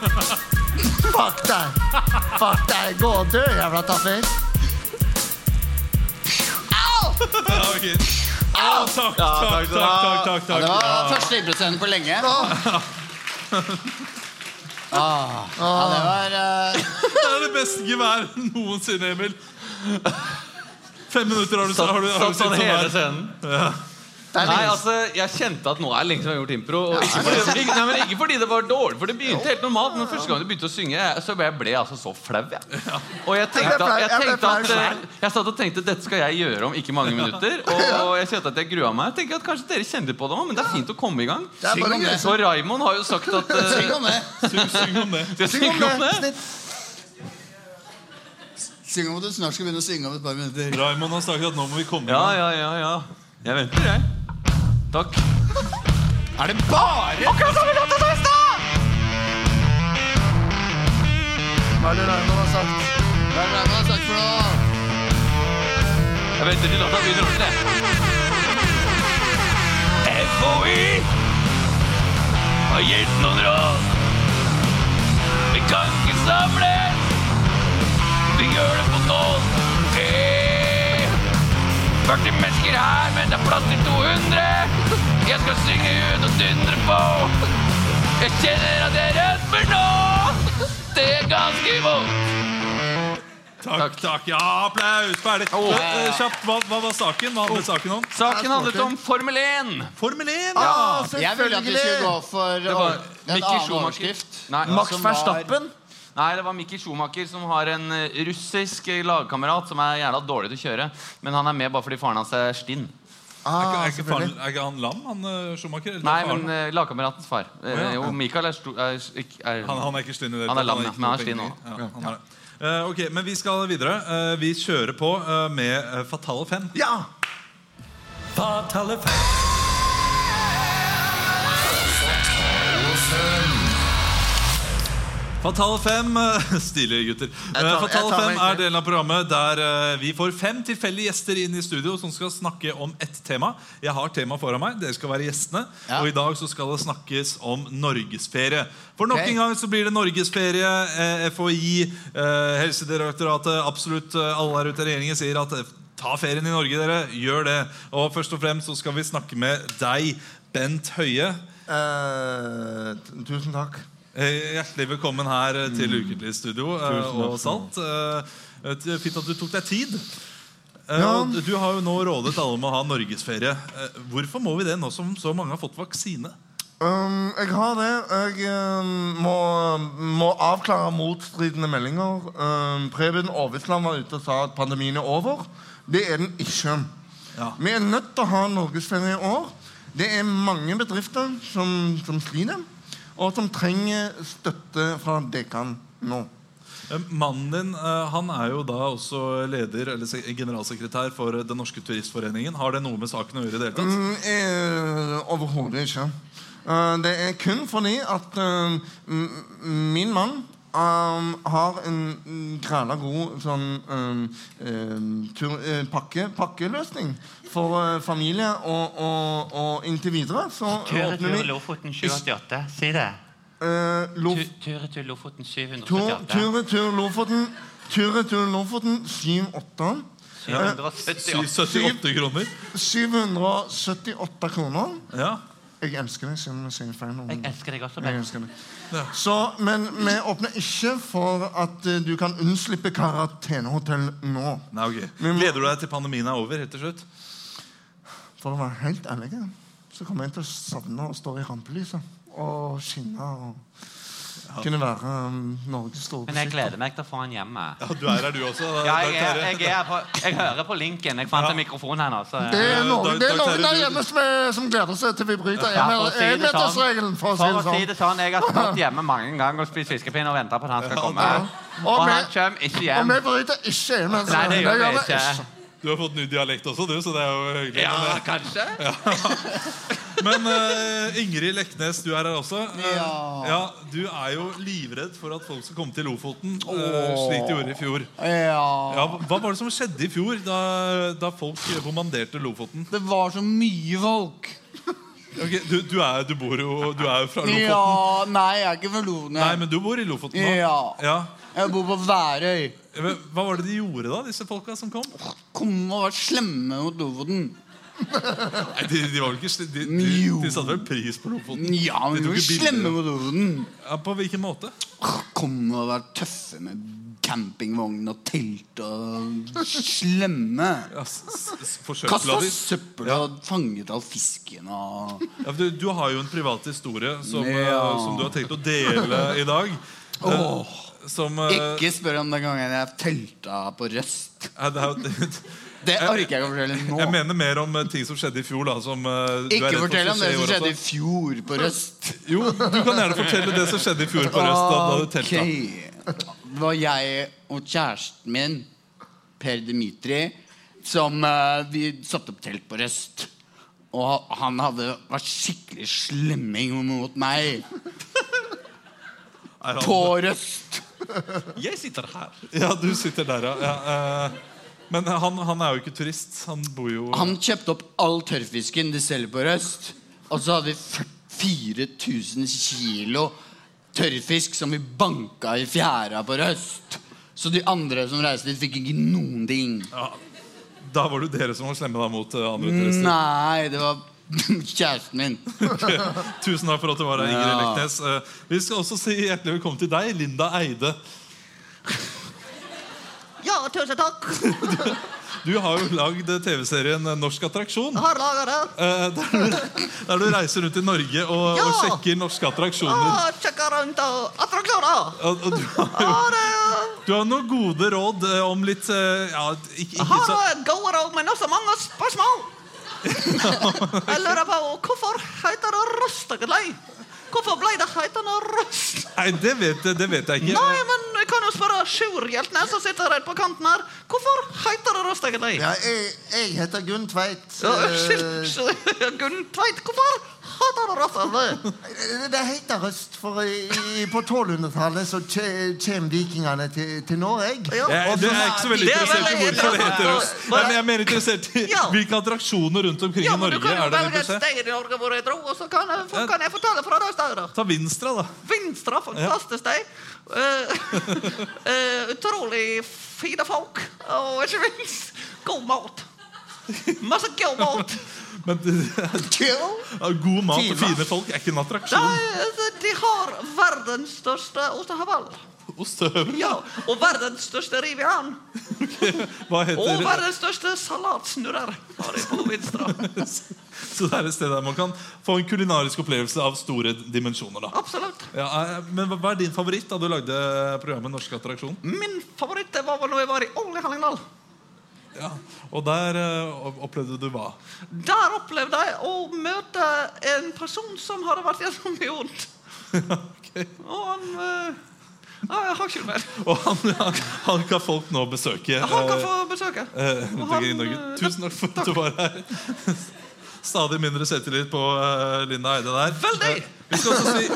Fuck deg. Fuck deg. Gå og dø, jævla taffer.
Ja, ok. Å, takk, takk, takk, takk, takk,
Det
takk.
var første idrettsscenen på lenge. Ah, ja, det var eh,
Det er det beste geværet noensinne, Emil. Fem minutter har du, har du, har du
Satt
sittet
sånn
sånn
hele
her.
scenen.
Det er
Nei,
lenge
altså, jeg kjente at nå er det lenge siden jeg har gjort impro. Og ikke, fordi, ikke, nei, men ikke fordi det var dårlig, for det begynte helt normalt. Men første gang du begynte å synge, jeg- så ble jeg ble altså så flau. Jeg. Og jeg tenkte at, jeg, tenkte at eh, jeg satt og tenkte dette skal jeg gjøre om ikke mange minutter. Og jeg kjente at jeg grua meg. Jeg tenker at Kanskje dere kjenner på det òg, men det er fint å komme i gang.
Det er bare gøy.
Og Raymond har jo sagt at eh,
Syng om det.
Syng, syng om det.
skal jeg
Syng om
synge om
det.
det?
snitt.
Syng om at du snart skal begynne å synge om et par minutter.
Raymond har sagt at nå må vi komme i
Ja,
gang.
ja, ja. ja. Jeg venter, jeg. Takk.
Er det bare Akkurat som vi låta sa i stad!
Hva er det Raymond har sagt?
Hva er det du har sagt for noe?
Jeg venter til låta begynner ordentlig. jeg.
FHI har gitt noen råd. Vi kan ikke samles. Vi gjør det på nål. Eh, 40 mennesker her, men det er plass til 200. Jeg skal synge ut og dundre på. Jeg kjenner at jeg rødmer nå. Det er ganske vondt.
Takk, takk. Ja, applaus. Ferdig. Men, eh, Kjapt, hva, hva var saken? Hva handlet saken om?
Saken handlet om Formel 1.
Formel 1!
Ah,
Jeg ville at vi skulle gå for
Det var
over- en
Mikkel
annen
Schumacher.
overskrift.
Nei,
Max
som var-
Verstappen.
Nei, det var Mikkel Schumacher som har en eh, russisk eh, lagkamerat som er gjerne dårlig til å kjøre, men han er med bare fordi faren hans er stinn.
Ah,
Er ikke, faren,
selvfølgelig.
er ikke han lam, han eh, Schumacher? Eller
Nei,
faren?
men eh, lagkameratens far. Eh,
Å, ja.
Jo, Michael er, sto- er, ikke- er
Han, han er ikke stinn i det
Han er
tatt,
lam, ja,
ikke
men han er
noe
stinn
penger. Ja, han er det. Eh, ok, men vi skal videre. Eh, vi kjører på eh, med eh, Fatale Fem.
Ja!
Fatale Fem. Fatal 5 eh, Stilige gutter.
Jeg tar-
Eh, Fatal
jeg tar
5
meg
er
ikke.
delen av programmet der eh, vi får fem tilfeldige gjester inn i studio som skal snakke om ett tema. Jeg har temaet foran meg. Dere skal være gjestene.
Ja.
Og i dag så skal det snakkes om norgesferie. For nok
Ok.
en gang så blir det norgesferie. Eh, FHI, eh, Helsedirektoratet, absolutt eh, alle her ute i regjeringen sier at eh, ta ferien i Norge, dere. Gjør det. Og først og fremst så skal vi snakke med deg, Bent Høie.
Eh, t- tusen takk.
Eh, Hjertelig velkommen her eh, til Ukentlig studio eh,
Tusen takk
og Salt. Eh, eh, t- Fint at du tok deg tid. Eh,
Ja.
og Du har jo nå rådet alle om å ha norgesferie. Eh, Hvorfor må vi det nå som så mange har fått vaksine?
Um, jeg har det. Jeg um, må, må avklare motstridende meldinger. Um, Preben Aavitsland var ute og sa at pandemien er over. Det er den ikke.
Ja.
Vi er nødt til å ha norgesferie i år. Det er mange bedrifter som, som sliter, og som trenger støtte fra dere nå.
Eh, Mannen din eh, han er jo da også leder eller se- generalsekretær for eh, Den norske turistforeningen. Har det noe med saken å gjøre? i det hele tatt?
Mm, eh, Overhodet ikke. Eh, det er kun fordi at eh, m- min mann eh, har en græla god sånn eh, eh, tur, eh, pakke, pakkeløsning for eh, familie, og, og, og inntil videre så åpner vi
Lofoten 788. Si det.
eh, Lof-
Tur-retur Lofoten
Tur-
778.
Tur-retur Lofoten. Tur-retur Lofoten 7-8.
778.
78 kroner.
778 Eh, kroner.
Ja.
Jeg elsker deg, selv om jeg sier feil nå.
Jeg elsker deg også,
Jeg
Ben.
elsker deg. Så, men vi åpner ikke for at eh, du kan unnslippe karantenehotell nå.
Nei, ok.
Men-
Gleder du deg til pandemien er over? helt til slutt?
For å være helt ærlig, så kommer jeg til å savne å stå i rampelyset og skinne og kunne være um, Norges store
Men jeg
beskytter.
gleder meg til å få han hjemme.
Ja, du er her, du også. da,
Ja,
Dag
jeg, er,
Terje.
jeg, er på, jeg hører på linken. Jeg fant en mikrofon her nå. Så
Det er Norge,
Dag-
det er
Dag
Norge
Terje,
der
du-
hjemme som, er, som gleder seg til vi bryter
Ja, for å si det
énmetersregelen, for å si det sånn.
det sånn, Jeg har stått hjemme mange ganger og spist fiskepinner og venta på at han skal komme.
Ja. Og
Og
vi-
han kommer ikke
Og
hjem.
vi bryter ikke
Nei,
énmetersregelen.
det
Jeg
gjør vi
det
ikke.
Du har fått ny dialekt også, du, så det er jo hyggelig.
Ja,
Men, eh,
kanskje?
Men eh, Ingrid Leknes, du er her også. Eh,
Ja.
ja, Du er jo livredd for at folk skal komme til Lofoten, eh, slik de gjorde i fjor.
Ja.
Ja, hva var det som skjedde i fjor, da, da folk bombarderte Lofoten?
Det var så mye folk.
Ok, du, du, er, du bor jo du er jo fra Lofoten.
Ja, Nei, jeg er ikke fra
Nei,
Lofoten.
men du bor i Lofoten nå.
Ja.
Ja.
Jeg bor på Værøy.
Men Hva var det de gjorde, da, disse folka som kom?
Kom og vær slemme mot Lofoten.
Nei, De, de var vel ikke sli- De, de,
Jo.
de satte vel pris på Lofoten?
Ja, men
De
du
tok
er
ikke bilder.
slemme mot Lofoten.
Ja, på hvilken måte?
Kom og vær tøffe med campingvogn og telt og slemme.
Ja, s- s-
Kasta
Forsøpla de?
søppel og fanget all fisken og
Ja, for du, du har jo en privat historie som, eh,
Ja.
som du har tenkt å dele i dag. Eh, som eh,
Ikke spør om den gangen jeg telta på Røst.
eh, det er jo-
Det orker jeg ikke å fortelle
Jeg
nå.
mener mer om eh, ting som skjedde i fjor. da som, eh, du er
Ikke
redd for
fortell om det
skje i
som
år
skjedde i
også.
fjor på Røst.
Jo, du kan gjerne fortelle det som skjedde i fjor på Røst. Da, da du telta.
Ok. Det var jeg og kjæresten min, Per Dimitri, som eh, vi satte opp telt på Røst. Og han hadde vært skikkelig slemming mot meg
Er han-
på Røst.
Jeg sitter her. Ja, du sitter der, ja. ja eh, men han, han er jo ikke turist. Han bor jo
Han kjøpte opp all tørrfisken de selger på Røst. Og så hadde vi 4000 kilo tørrfisk som vi banka i fjæra på Røst. Så de andre som reiste dit, fikk ikke noen ting.
Da var det jo dere som var slemme da mot eh, andre turister.
Nei, det var kjæresten min.
Tusen takk for at du var her, Ingrid
Ja.
Leknes. Eh, Vi skal også si hjertelig velkommen til deg, Linda Eide.
Ja, tusen takk.
Du har jo lagd TV-serien Norsk attraksjon.
Har laga det.
eh, Der du, der du reiser rundt i Norge og, og
Ja!
sjekker norske attraksjoner.
Ah, Sjekka rundt og attraksjoner.
Og, og du, har jo,
Ah, det er-
du har noen gode råd eh, om litt eh, ja, ikke, ikke så,
Har gode råd, men også mange spørsmål. Jeg lurer på hvorfor heter det røstegløy? Hvorfor ble det hetende røst?
Nei, det vet, jeg- det vet jeg ikke.
Nei, men jeg kan jo spørre Sjur Hjeltnes som sitter rett på kanten her. Hvorfor heter det røstegløy?
Ja, jeg, jeg heter Gunn Tveit.
Ja,
Eh,
Unnskyld, Sjur- Gunn Tveit. Hvorfor
Hater røstene! Eh, Det heter røst, for i, i- på 1200-tallet så kje- kjem vikingene til, til Norge.
Jeg,
Og
det
så-
er ikke så veldig
Det er
interessert i
veldig
hvorfor det heter oss.
interessant.
Nei, men jeg er mer interessert i
Ja.
hvilke attraksjoner rundt omkring
Ja,
i
men du
Norge
kan jo
er dere
velge et
interessert
sted i Norge hvor jeg dro, og så kan jeg, for, kan jeg fortelle fra de stedene.
Ta Vinstra, da.
Vinstra, fantastisk sted. Eh, eh, utrolig fine folk, og ikke minst god mat. Masse god mat.
Men Ja, god mat og fine folk er ikke en attraksjon.
Nei, altså, de har verdens største ostehøvel.
Ostehøvel?
Ja, og verdens største rivian.
Hva
Og
heter
verdens største salatsnurrer. har de på Vinstra.
Så det er et sted der man kan få en kulinarisk opplevelse av store dimensjoner. da
Absolutt.
ja, eh, Men hva- hva er din favoritt da du lagde programmet Norsk attraksjon?
Min favoritt det var vel når jeg var i Ål i Hallingdal.
Ja. Og der eh, opp- opplevde du hva?
Der opplevde jeg å møte en person som hadde vært gjennom mye vondt. Og han eh, ja, Jeg har ikke mer.
Og han, han, han kan folk nå besøke.
Han kan
eh,
få besøke.
eh, rundt omkring i
han,
Norge.
eh,
Tusen takk for at du var her. Stadig mindre selvtillit på eh, Linda Eide der.
Veldig!
Eh, vi skal også si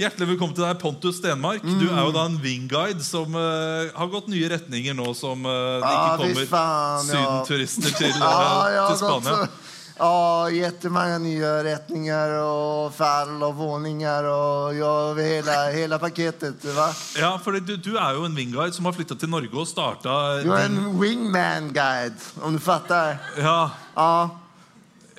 Hjertelig velkommen til deg, Pontus Stenmark. Du er jo da en wingguide som eh, har gått nye retninger nå som eh, det
Ah,
ikke kommer
fy faen, ja.
sydenturister til, eh,
Ja, jeg har
til Spania.
gått, Ja, jättemånga nya rättningar och fall och våningar och ja, hela, hela paketet. Va?
Ja, for du, du er jo en wingguide som har flytta til Norge og starta
Du är en wingman guide, om du fattar.
Ja,
Ja.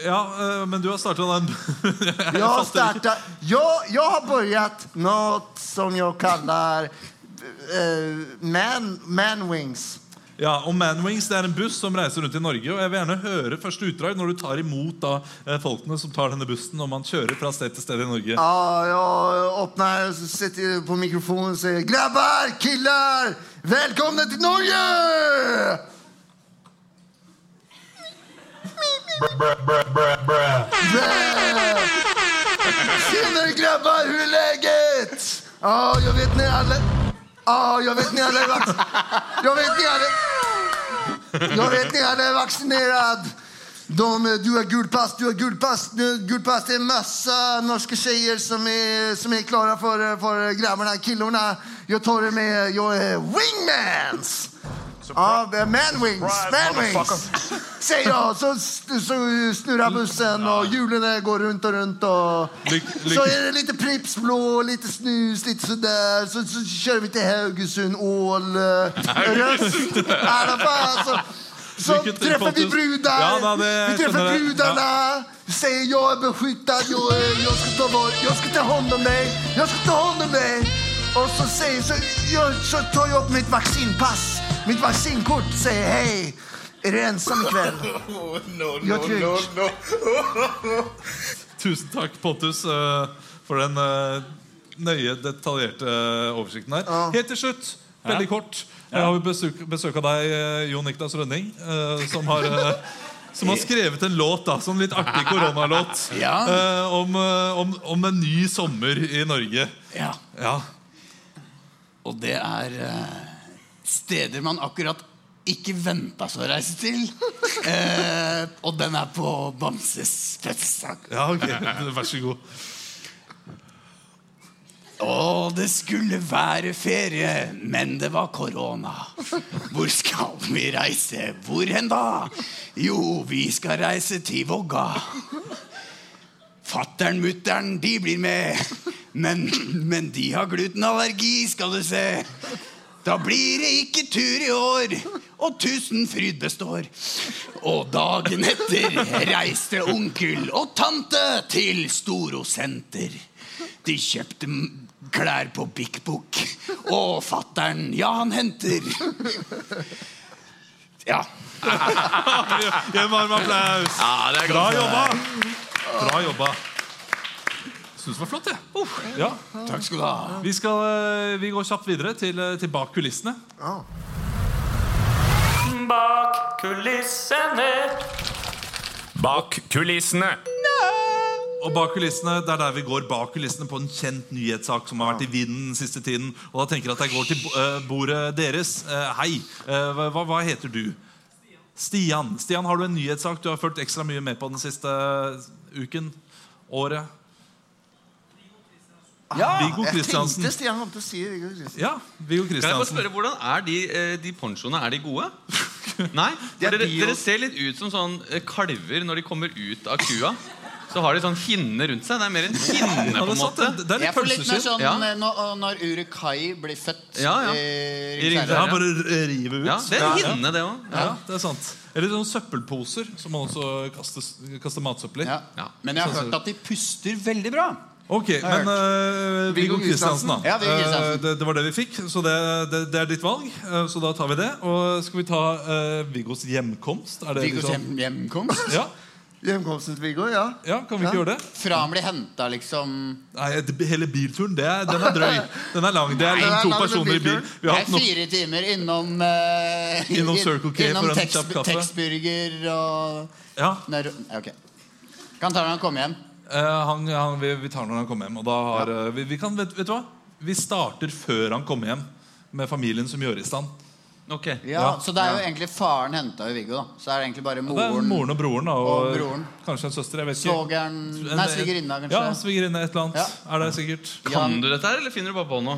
ja eh, men du har starta en
Jag har startat, jag, jag har börjat något som jag kallar eh, man, man wings.
Ja, og Manwings det er en buss som reiser rundt i Norge. Og jeg vil gjerne høre første utdrag når du tar imot da, eh, folkene som tar denne bussen. Når man kjører fra sted til sted i Norge.
Ja, jag öppnar, sätter på mikrofonen och säger grabbar, killar, välkomna till Norge! Tjenare grabbar, hur är läget? Ja, jag vet ni alla... Ja, jag vet ni alla är vax... Jag vet ni alla... Jag vet ni alla är vaccinerad. De, eh, du har gult pass, du har gult pass, du har gult pass. Det är en massa norska tjejer som är, som är klara för, för grabbarna, killorna. Jag tar det med, jag är wingmans! Ja, man wings, man wings. Säger jag, så, st- så snurrar bussen och hjulen går runt och runt. Och,
Lyck- lyck-
så är det lite Pripps blå, lite snus, lite sådär. Så, så kör vi till Haugesund, Ål, eh, Röst. I alla fall, alltså, så
Lycka till,
träffar vi
Pontus.
brudar.
Ja, men det-
vi träffar
jag känner det.
brudarna. Säger jag är beskyttad, jag, eh, jag, ska ta, var- jag ska ta hand om dig. Jag ska ta hand om dig. Och så, säger, så, jag, så tar jag upp mitt vaccinpass, mitt vaccinkort. Säger hej, är du ensam ikväll? Jag är trygg.
Tusen takk, Pontus, eh, for den eh, nøye, detaljerte eh, oversikten der. Helt til slutt, veldig kort, her har vi besøk, besøk av deg, eh, Jon Niklas Rønning, eh, som har eh, som har skrevet en låt, da, sånn litt artig koronalåt,
Ja.
eh, om, eh, om, om en ny sommer i Norge.
Ja.
Ja.
Og det er eh, steder man akkurat ikke venta seg å reise til. Eh, og den er på Bamses fødselsdag.
Ja, ok. Vær så god.
Å, det skulle være ferie, men det var korona. Hvor skal vi reise? Hvor hen da? Jo, vi skal reise til Vågga. Fattern, mutter'n, de blir med. Men, men de har glutenallergi, skal du se. Da blir det ikke tur i år, og Tusenfryd består. Og dagen etter reiste onkel og tante til Storo senter. De kjøpte m- klær på Bik Bok, og fattern, ja, han henter. Ja.
Gi en varm applaus.
Ja, det er
Bra
godt.
jobba! Bra jobba. Syns det var flott, jeg. Ja.
Takk skal du ha.
Vi, skal, eh, vi går kjapt videre til, eh, til bak kulissene.
Bak kulissene. Bak kulissene.
Og bak kulissene, Det er der vi går bak kulissene på en kjent nyhetssak som har vært i vinden den siste tiden. Og da tenker jeg at jeg går til bo- eh, bordet deres. Eh, Hei, eh, hva, hva heter du? Stian. Stian, har du en nyhetssak du har fulgt ekstra mye med på den siste eh, uken? Å året?
Ja,
Viggo
jeg
Kristiansen.
tenkte Stian kom til å si Viggo Kristiansen.
Ja, Viggo
Kan jeg bare
Kristiansen.
spørre, Hvordan er de, eh, de ponchoene? Er de gode? Nei?
De er
For dere,
bio.
dere ser litt ut som sånn eh, kalver når de kommer ut av kua. Så har de sånn hinne rundt seg. Det er mer en hinne, på en måte.
jeg får litt mer sånn
Ja.
eh, når, når Urukai blir født
Ja, ja.
eh,
I
rundt
ringfjæra.
her,
Ja, bare r- rive ut.
Ja, det er en hinne, det også.
Ja.
Ja.
det er sant. Eller sånne søppelposer som man også kaster, kaster matsøppel i.
Ja. Men jeg har hørt at de puster veldig bra.
Ok,
Jeg har
men eh, Viggo
Viggo
Kristiansen, da.
Ja, Viggo Kristiansen.
Eh, det, det var det vi fikk, så det, det, det er ditt valg. eh, så da tar vi det. Og skal vi ta eh, Viggos hjemkomst? Er det
Viggos
liksom-
hjem, hjemkomst?
Ja.
Hjemkomsten til Viggo, ja.
ja, kan vi ikke gjøre det?
Fra han blir henta, liksom
Nei, det- Hele bilturen, det er, den er drøy. Den er lang. Det er liksom
Nei, den er
to
lang, den
personer i bil.
bilturen.
Vi har hatt
Det er
nok
fire timer innom eh,
Innom Circle K
Innom
for en
Tex-
kjapp kaffe.
Texburger og
Ja.
Nei, ro- ja, ok. Kan ta når han kommer hjem.
Eh, han, han, vi, vi tar når han kommer hjem. Og da har, eh, vi, vi kan, vet, vet du hva? Vi starter før han kommer hjem, med familien som gjør i stand.
Ok
Ja, Så det er jo egentlig faren henta jo Viggo, da. Så er det egentlig bare
Det er
moren.
moren og broren, da, og,
og broren.
kanskje en søster. jeg vet ikke
Svogeren
En-
Nei, svigerinna, kanskje.
Ja, altså- svigerinne, et eller annet. Er det sikkert
Kan du dette her, eller finner du bare på noe?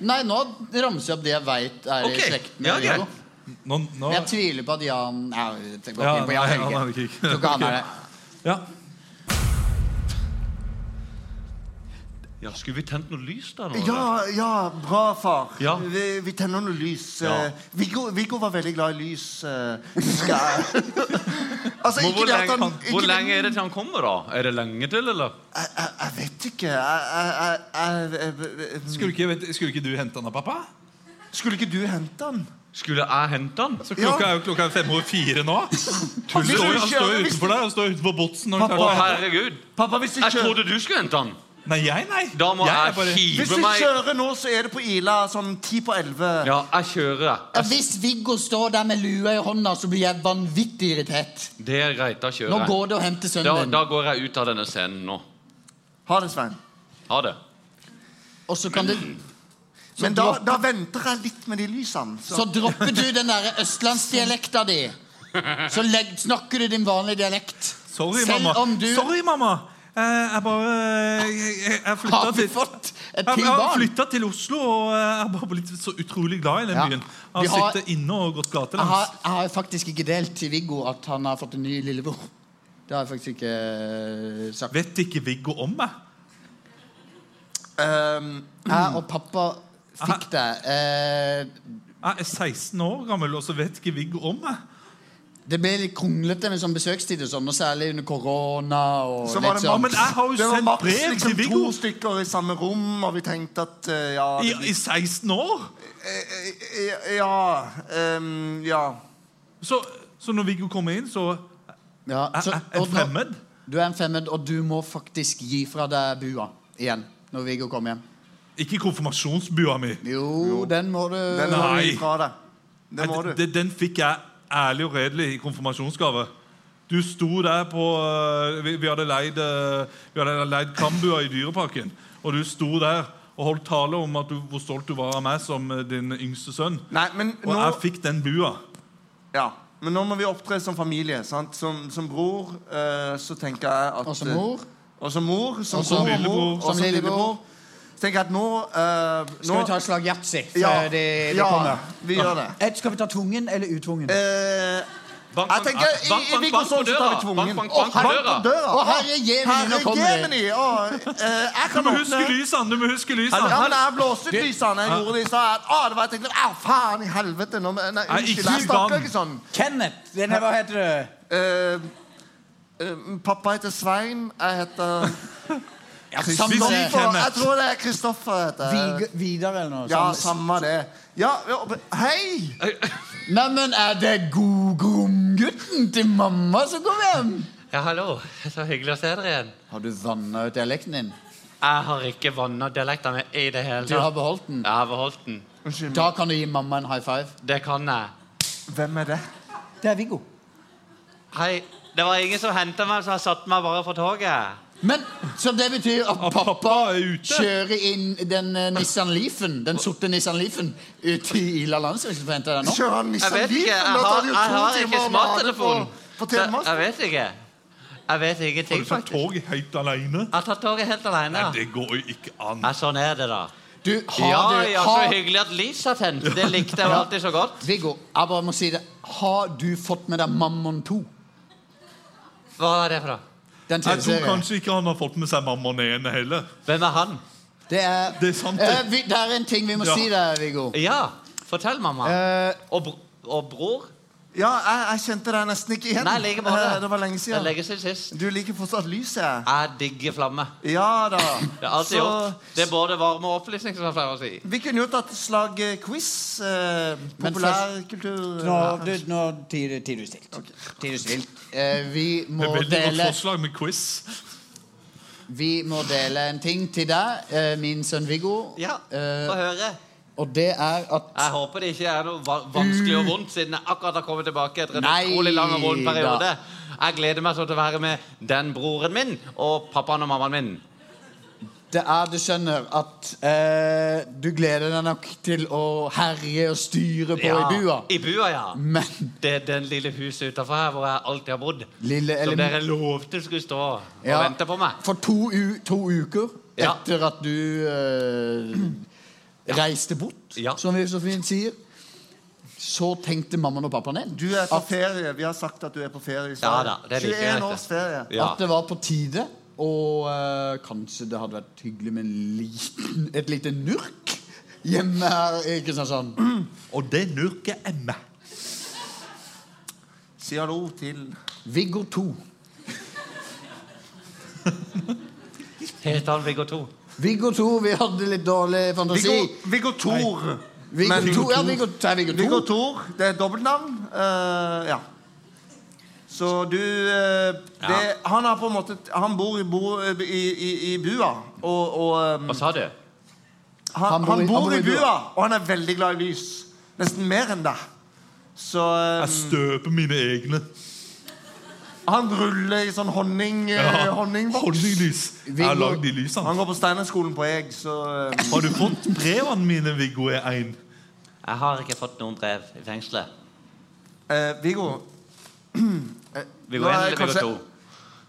Nei, nå ramser jeg opp det jeg veit er
Ok,
i slekt
ja,
med Viggo.
Nå, nå,
Men jeg tviler på at Jan Nei, jeg tenker
Ja,
ikke på Jan
nei,
Helge.
han er det ikke.
Tror ikke han er det.
ja.
Ja, Skulle vi tent noe lys der nå?
Ja, ja, bra, far.
Ja.
Vi, vi tenner noe lys.
Ja.
Eh, Viggo, Viggo var veldig glad i lys. eh, husker jeg. altså,
Men
ikke
hvor
det at
lenge,
han-
hvor
ikke det-
lenge er det til han kommer, da? Er det lenge til, eller?
Jeg vet ikke. Jeg, jeg, jeg, jeg, jeg,
Skulle, ikke, vet, skulle ikke du hente han av pappa?
Skulle ikke du hente han?
Skulle jeg hente han?
Så klokka er jo klokka er fem over fire nå. Han står jo han står jo utenfor der. Han står utenfor botsen. når han
Å,
tar den.
herregud!
Pappa, hvis du
Jeg
kjører,
trodde du skulle hente han.
Nei, jeg, nei.
Da må
Jeg er
jeg
bare-
hvis
hive
du
meg
kjører nå, så er det på Ila sånn ti på elleve.
Ja, jeg kjører. jeg.
Ja, hvis Viggo står der med lua i hånda, så blir jeg vanvittig irritert.
Det er greit, da
Nå
kjører jeg.
går det å hente
Da,
sønnen
da
din.
går jeg ut av denne scenen nå.
Ha det, Svein.
Ha det.
Og så kan du så,
Men da,
dropp,
da venter jeg litt med de lysene. Så.
så dropper du den derre østlandsdialekta di. Så legg, snakker du din vanlige dialekt.
Sorry,
Selv
mamma.
om du-
Sorry, mamma. Eh, Jeg bare Jeg, jeg, jeg flytta
Har vi
til
fått et
Jeg-
til
jeg
barn?
flytta til Oslo og eh, jeg er bare blitt så utrolig glad i den
Ja.
byen.
Vi
Jeg har
har-
sittet inne og gått
Jeg har,
gatelangs.
jeg har faktisk ikke delt til Viggo at han har fått en ny lillebror. Det har jeg faktisk ikke eh, sagt.
Vet ikke Viggo om meg?
Ehm,
Jeg og pappa fikk det. Eh,
Jeg er 16 år gammel, og så vet ikke Viggo om meg.
det ble litt kronglete med sånn besøkstid og sånn, og særlig under korona. og
Så var
litt
det
Ja,
sånn.
men jeg har jo
det var
sendt
maks
brev
liksom,
til Viggo
to stykker i samme rom, og vi tenkte at eh, ja,
i,
det,
i 16 år.
eh, eh, ja, ehm, ja.
Så, så når Viggo kommer inn, så
Ja,
er
så-
jeg en
og nå-
fremmed.
Du er en fremmed, og du må faktisk gi fra deg bua igjen når Viggo kommer hjem.
Ikke konfirmasjonsbua mi.
Jo, den må du
Den må
Nei.
du gi fra deg. Det må
Nei,
du.
d- Den fikk jeg ærlig og redelig i konfirmasjonsgave. Du sto der på eh, Vi, vi hadde leid, eh, vi hadde leid Kambua i Dyreparken. Og du sto der og holdt tale om at du, hvor stolt du var av meg som eh, din yngste sønn.
Nei, men
Og
nå
jeg fikk den bua.
Ja, men nå må vi opptre som familie. Sant? Som, som bror eh, så tenker jeg at
Og som mor?
Og som mor, som,
Og som
bror,
lillebror.
mor, og
Som
som
lillebror.
lillebror. Så tenker jeg at nå, eh,
Skal
nå
vi ta et slag yatzy før
ja,
de, de
ja,
kommer?
vi gjør det.
Et, skal vi ta tvungen eller utvungen?
Eh,
Bank,
jeg tenker i,
bank,
i
bank,
Viggo
bank på
Sogn så tar vi
døra. Bank,
tvungen.
bank, bank
Å,
på
bank
døra.
på døra.
Å, herre Jemini, nå
Herre
kommer de.
Jemini! Å, eh, jeg
Du
kan
må huske
åpne
lysene! Du må huske lysene.
ja, men jeg blåste ut lysene. Jeg gjorde det i stad. Å, det var jeg tenkte, Au, faen i helvete! Nå, nei,
Nei, ikke
unnskyld, jeg
vann.
snakker ikke sånn.
Kenneth! Den her, hva heter du?
Eh, eh, pappa heter Svein. Jeg heter
Ja,
vi
samme
sier-
det.
Kristoffer. Jeg tror det er Kristoffer heter.
Vig- Vidar eller noe?
Ja, samme
samme-
det. Ja, ja, men- hei!
Neimen, er det godgromgutten til mamma som kommer hjem?
Ja, hallo. Så hyggelig å se dere igjen.
Har du vanna ut dialekten din?
Jeg har ikke vanna dialekta mi i det hele
Du har beholdt den?
Jeg har beholdt den.
Unnskyld,
Da kan du gi mamma en high five.
Det kan jeg.
hvem er det?
Det er Viggo.
Hei. Det var ingen som henta meg, så jeg satte meg bare på toget.
Men, Så det betyr at
At
pappa,
pappa er ute?
kjører inn den eh, Nissan Leafen, den sorte Nissan Leafen ut i Ila landsvik for å hente den nå?
Kjører han Nissan
Jeg vet ikke.
Leaf?
Jeg
Da tar det
har,
jo to
jeg har
timer
ikke
å lade på-
smarttelefon.
på
Så Jeg
Telemark.
vet ikke.
Jeg vet ingenting,
Har du tatt tog helt alene?
Jeg har tatt toget helt alene.
Nei, det går jo ikke an.
Ja, sånn er det, da.
Du, har
ja,
du,
ja,
har-
så hyggelig at lyset er tent. Det likte jeg jo alltid så godt.
Viggo, jeg bare må si det. Har du fått med deg Mammon 2?
Hva er det for noe?
Den
Jeg tror
TV-serien.
kanskje ikke han har fått med seg mammonene heller.
Hvem er han?
Det er,
Det er sant,
Eh,
det.
vi, det er en ting vi må
Ja.
si der, Viggo.
Ja, fortell, mamma.
Eh.
og, bro og bror?
Ja, jeg, jeg kjente deg nesten ikke igjen.
Nei, like måte.
Eh, Det var lenge
Det er
siden.
lenge siden sist.
Du liker fortsatt lyset.
Jeg digger flamme.
Ja da.
Det er alltid gjort. Det er både varme og opplysning, som jeg pleier å si.
Vi kunne jo tatt et slag eh, quiz. Eh,
Men
Populærkultur.
Nå, du, nå tier tier du stilt. Tier du stilt. Eh, vi
Det
må
er veldig godt
dele
forslag med quiz.
Vi må dele en ting til deg, eh, min sønn Viggo.
Ja,
Eh,
få høre.
og det er at
Jeg håper det ikke er noe va- vanskelig og vondt, siden jeg akkurat har kommet tilbake etter en
Nei
utrolig lang og vond
da.
periode. Jeg gleder meg sånn til å være med den broren min og pappaen og mammaen min.
Det er, du skjønner, at eh, du gleder deg nok til å herje og styre på i bua.
I bua, ja.
Men
Det er den lille huset utafor her hvor jeg alltid har bodd.
Lille
Som
Elin-
dere lovte skulle stå og
Ja.
vente på meg.
for to, u to uker
Ja.
etter at du eh, reiste bort,
Ja.
som vi så fint sier, så tenkte mammaen og pappaen din
Du er på
at,
ferie. Vi har sagt at du er på ferie. i
Ja
Sverige.
da, det liker jeg.
21 års ferie.
Ja.
at det var på tide. Og eh, kanskje det hadde vært hyggelig med en liten, et lite nurk hjemme her i Kristiansand.
Og det nurket er meg.
Si hallo til
Viggo 2.
Heter han Viggo 2?
Viggo 2, vi hadde litt dårlig fantasi.
Viggo, Viggo Thor.
Viggo
Men-
Thor- ja, Viggo- det er Viggo Thor.
Viggo Thor. Det er dobbeltnavn. eh, ja. Så du eh, det, Han har på en måte Han bor i, bo, i, i, i bua. Og, og eh,
Hva sa du?
han, han, bor, i bua, og han er veldig glad i lys. Nesten mer enn deg. Så
Altså-
eh,
Jeg støper mine egne.
han ruller i sånn honning, eh, honningboks.
Honninglys. Jeg har lagd de lysene.
Han går på Steinerskolen på Eg, så eh,
Har du fått brevene mine, Viggo E1?
Jeg har ikke fått noen brev i fengselet.
eh, Viggo Eh,
Viggo
Nå
1
er
eller
jeg
Viggo 2?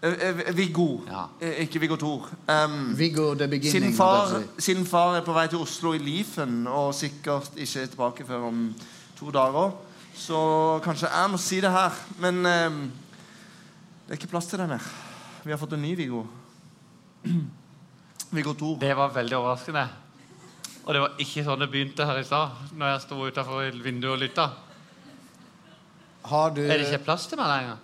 kanskje- eh, eh, Viggo.
Ja.
Eh, ikke Viggo Thor. Um,
Viggo The Beginning.
Siden
holdt
far,
jeg på å si.
siden far er på vei til Oslo i Lifen og sikkert ikke er tilbake før om to dager, så kanskje jeg må si det her. Men eh, det er ikke plass til deg mer. Vi har fått en ny Viggo. Viggo 2.
Det var veldig overraskende. Og det var ikke sånn det begynte her i stad, når jeg sto utafor vinduet og lytta.
Har du
Er det ikke plass til meg lenger?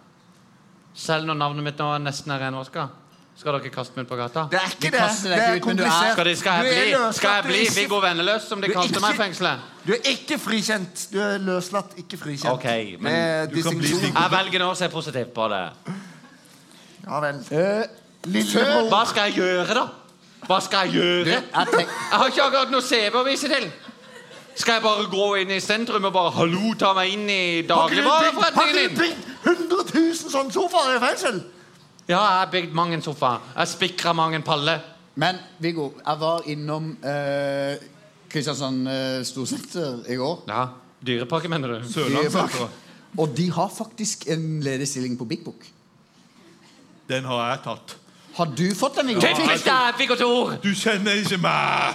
Selv når navnet mitt nå nesten er renvaska, skal dere kaste meg ut på gata?
Det er ikke
Vi
det.
kaster deg
Det er
ikke ut, men du er-
komplisert.
Skal, de, skal jeg
Du er
bli,
løslatt,
skal jeg
du er
bli
ikke-
Viggo Venneløs, som de
Du er
kalte meg i
ikke-
fengselet?
Du er ikke frikjent. Du er løslatt, ikke frikjent.
Ok, men
Med
du kan bli
distinksjon.
Viggo.
Jeg velger nå å se positivt på det.
Ja vel.
Eh,
Lillebror.
Hva skal jeg gjøre, da? Hva skal jeg
du,
gjøre?
jeg tenk,
Jeg har ikke akkurat noe CV å vise til. Skal jeg bare gå inn i sentrum og bare 'hallo, ta meg inn i
Har ikke du bygd- har
dagligvareforretningen
ikke du
din'?
bygd 100 000 sånne sofaer i fengsel?
Ja, jeg har bygd mange sofaer. Jeg spikra mange paller.
men Viggo, jeg var innom eh, Kristiansand eh, Storsenter i går.
Ja, Dyrepakke, mener du?
Sørlandssenteret.
Og de har faktisk en ledig stilling på Big Book.
Den har jeg tatt.
Har du fått den, Viggo?
Typisk deg, Viggo Thor!
Du kjenner ikke meg!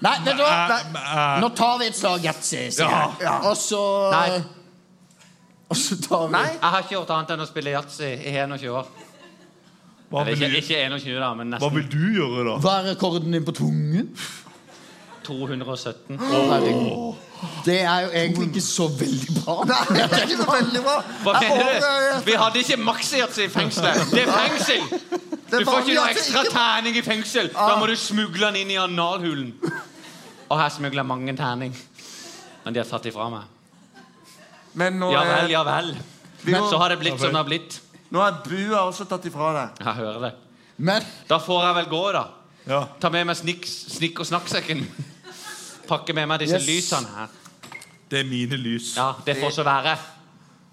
Nei, vet du hva?
Jeg- jeg-
Nå tar vi et slag Yatzy.
Ja.
Og så
Nei.
Og så tar vi
Nei.
Jeg har ikke gjort annet enn å spille yatzy i 21 år.
Hva
Eller
vil,
ikke,
du,
ikke 21, da, men
hva
nesten
vil du gjøre, da?
Hva er rekorden din på tvungen?
217.
Herregud. Det er jo egentlig ikke så veldig bra.
Nei, det er ikke så veldig bra.
Hva
Jeg
mener du?
overgår-
Vi hadde ikke maks-yatzy i fengselet. Det er fengsel! Du
er
får ikke
vanlig
noe
at det
ekstra
ikke- Ah.
terning i fengsel. Da må du smugle den inn i analhulen. Og her smugler jeg mange terning. Men de har tatt ifra meg.
Men nå
Ja
er-
vel, ja vel.
må-
Så har det blitt som det har blitt.
Nå er bua også tatt ifra deg.
Jeg hører det.
Men
Da får jeg vel gå, da.
Ja.
Ta med meg snikk, snikk og snakksekken. Pakke med meg disse
Yes.
lysene her.
Det er mine lys.
Ja, det får så være.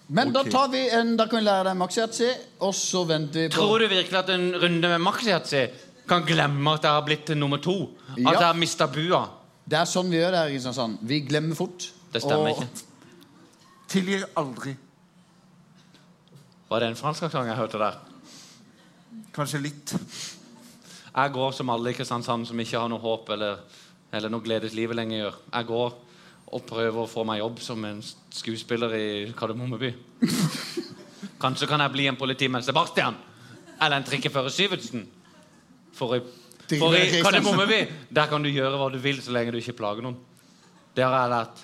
Men da tar vi en, da kan vi lære deg maxyatzy, og så venter vi på
Tror du virkelig at en runde med maxi-yatzy kan glemme at jeg har blitt til nummer to? At
Ja.
jeg har mista bua?
Det er sånn vi gjør det her i Kristiansand. Vi glemmer fort.
Det stemmer
og
ikke.
Tilgir aldri.
Var det en fransk aksent jeg hørte der?
Kanskje litt.
Jeg går som alle i Kristiansand som ikke har noe håp eller, eller noe glede til livet lenger gjør. Jeg går og prøver å få meg jobb som en skuespiller i Kardemommeby. Kanskje kan jeg bli en politimann Sebastian eller en trikkefører Syvertsen. For i, for i Kardemommeby der kan du gjøre hva du vil så lenge du ikke plager noen. Det har jeg lært.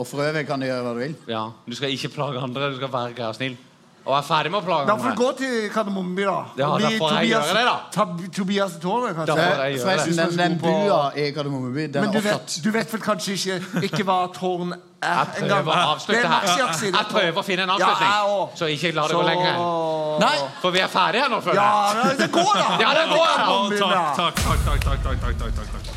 Og for øvrig kan du gjøre hva du vil.
Ja, Du skal ikke plage andre, du skal være grei og snill. Og jeg er ferdig med å plage
Da får
andre.
du gå til Kardemommeby, da.
Ja,
Og
da
bli
får jeg
Tobias-
gjøre det, da.
Tab- Tobias Tove, kanskje.
Forresten, den, den bua i Kardemomme by, den
Men
er
du
opptatt.
vet, du vet vel kanskje ikke, ikke hva tårn er?
Jeg prøver
engang,
å
hva?
avslutte
Det er
her.
maxiaksi, det er
Jeg prøver å finne en
Ja,
avslutning.
jeg også.
så ikke la det gå
Så-
lenger. Nei, For vi er ferdige nå, føler
Ja,
jeg.
men det går da.
Ja, det går da.
Å, takk, takk, takk, takk, takk, takk, takk, takk, takk, takk.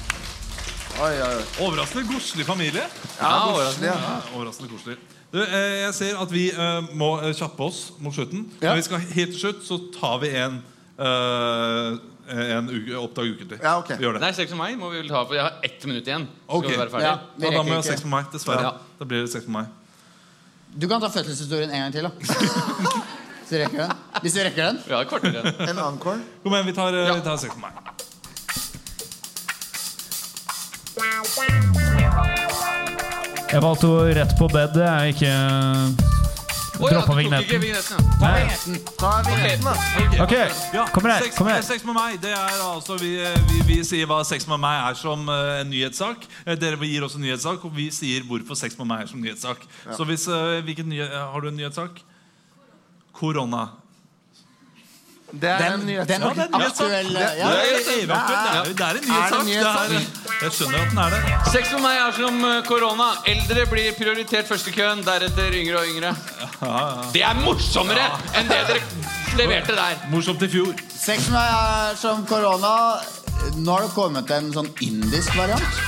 Overraskende godslig familie.
Ja, godslig, ja.
Ja, overraskende koselig. Du, eh, jeg ser at vi eh, må eh, kjappe oss mot slutten.
Ja.
Når vi skal helt til slutt, så tar vi en, eh, en uke, Oppdag ukentlig. Vi gjør det.
Nei, seks for meg må vi vel ta, for jeg har ett minutt igjen. Så
Ok.
skal vi være ferdig.
Ja, da må jeg ha sex på meg, dessverre. Da blir det sex på meg.
Du kan ta fødselshistorien en gang til, da. Hvis du rekker den. Hvis du rekker den.
Ja, kvarter igjen.
En encore?
Kom igjen, vi tar, eh, vi tar sex på meg.
Jeg valgte å gå rett på bed. Jeg ikke
Å ja, du
droppa
tok ikke
vignetten.
vignetten. ja.
Nei.
Ta vignetten, da.
Ok,
Ja,
kommer her,
Sex,
kommer her.
sex med meg, det er altså vi, vi, vi sier hva sex med meg er som eh, en nyhetssak. Eh, Dere gir også en nyhetssak, og vi sier hvorfor sex med meg er som nyhetssak.
Ja.
Så hvis, eh, hvilken nye, Har du en nyhetssak? Korona.
Det er en nyhetssak.
Ja, det er en nyhetssak.
Aktuell,
Det er-
ja.
det er evig aktuell. Det er- det er en nyhetssak. Det er- Jeg skjønner at den er det.
Sex med meg er som eh, korona. Eldre blir prioritert først i køen, deretter yngre og yngre. Det er morsommere enn det dere leverte der.
Morsomt i fjor.
Sex med meg er som korona. Nå har det kommet en sånn indisk variant.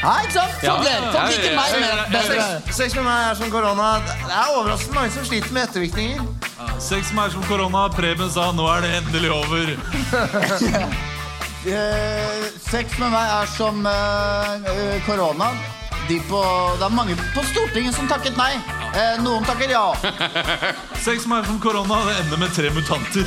Nei, ikke sant? Sånn ble det. Sånn liker meg mer. bedre.
Sex- Sex med meg er som korona. Det er overraskende mange som sliter med ettervirkninger.
Sex med meg er som korona. Preben sa nå er det endelig over.
Eh, sex med meg er som eh, eh, korona. De på, det er mange på Stortinget som takket nei. Eh, noen takker ja.
Sex med meg er som korona. Det ender med tre mutanter.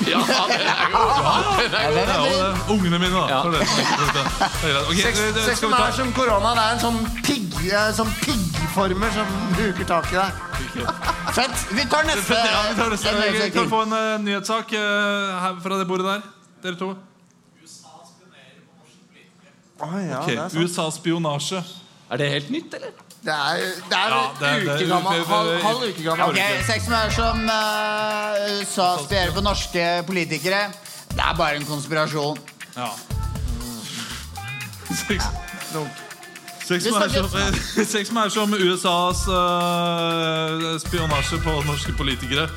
Ja, det er jo bra. Det er jo
Ja,
bra.
og det er Ungene mine, da. for det. Det er greit. Ok,
Sex,
det- det-
sex
skal
med
vi ta-
meg er som korona. Det er en sånn pigg eh, sånn piggformer som bruker tak i deg.
Fett. Vi tar
Fett, ja, vi tar neste. Vi kan få en eh, nyhetssak eh, her fra det bordet der. Dere to.
ja,
Ok,
det er sant.
USAs spionasje.
Er det helt nytt, eller?
Det er, det er
Ja, det er-
en
det
uke
er-
gammel.
det- det-
Halv, halv uke gammel.
Ok, Sex med meg er som eh, USA spiller på norske politikere. Det er bare en konspirasjon.
Ja. Sex. Sex
Vi
med meg er
snakker-
som, sex med meg er som USAs eh, spionasje på norske politikere.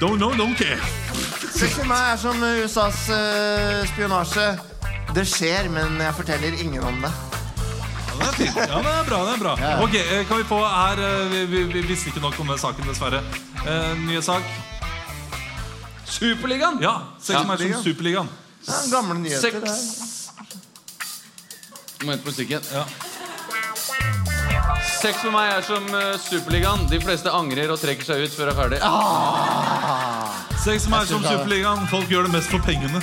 Don't know, don't care.
Sex med meg er som USAs eh, spionasje. Det skjer, men jeg forteller ingen om det.
Ja, det er fint. Ja, det er bra. det er bra
Ja.
Ok, eh, Kan vi få her eh, Vi, vi, vi visste ikke nok om den saken, dessverre. Eh, nye sak.
Superligaen?
Ja. Sex med meg er
Superligaen.
som Superligaen.
Ja, gamle nyheter. det
Sex.
er-
Må hente musikken. Sex med meg er som eh, Superligaen. De fleste angrer og trekker seg ut før det er ferdig.
Sex med meg er som Superligaen. Folk gjør det mest for pengene.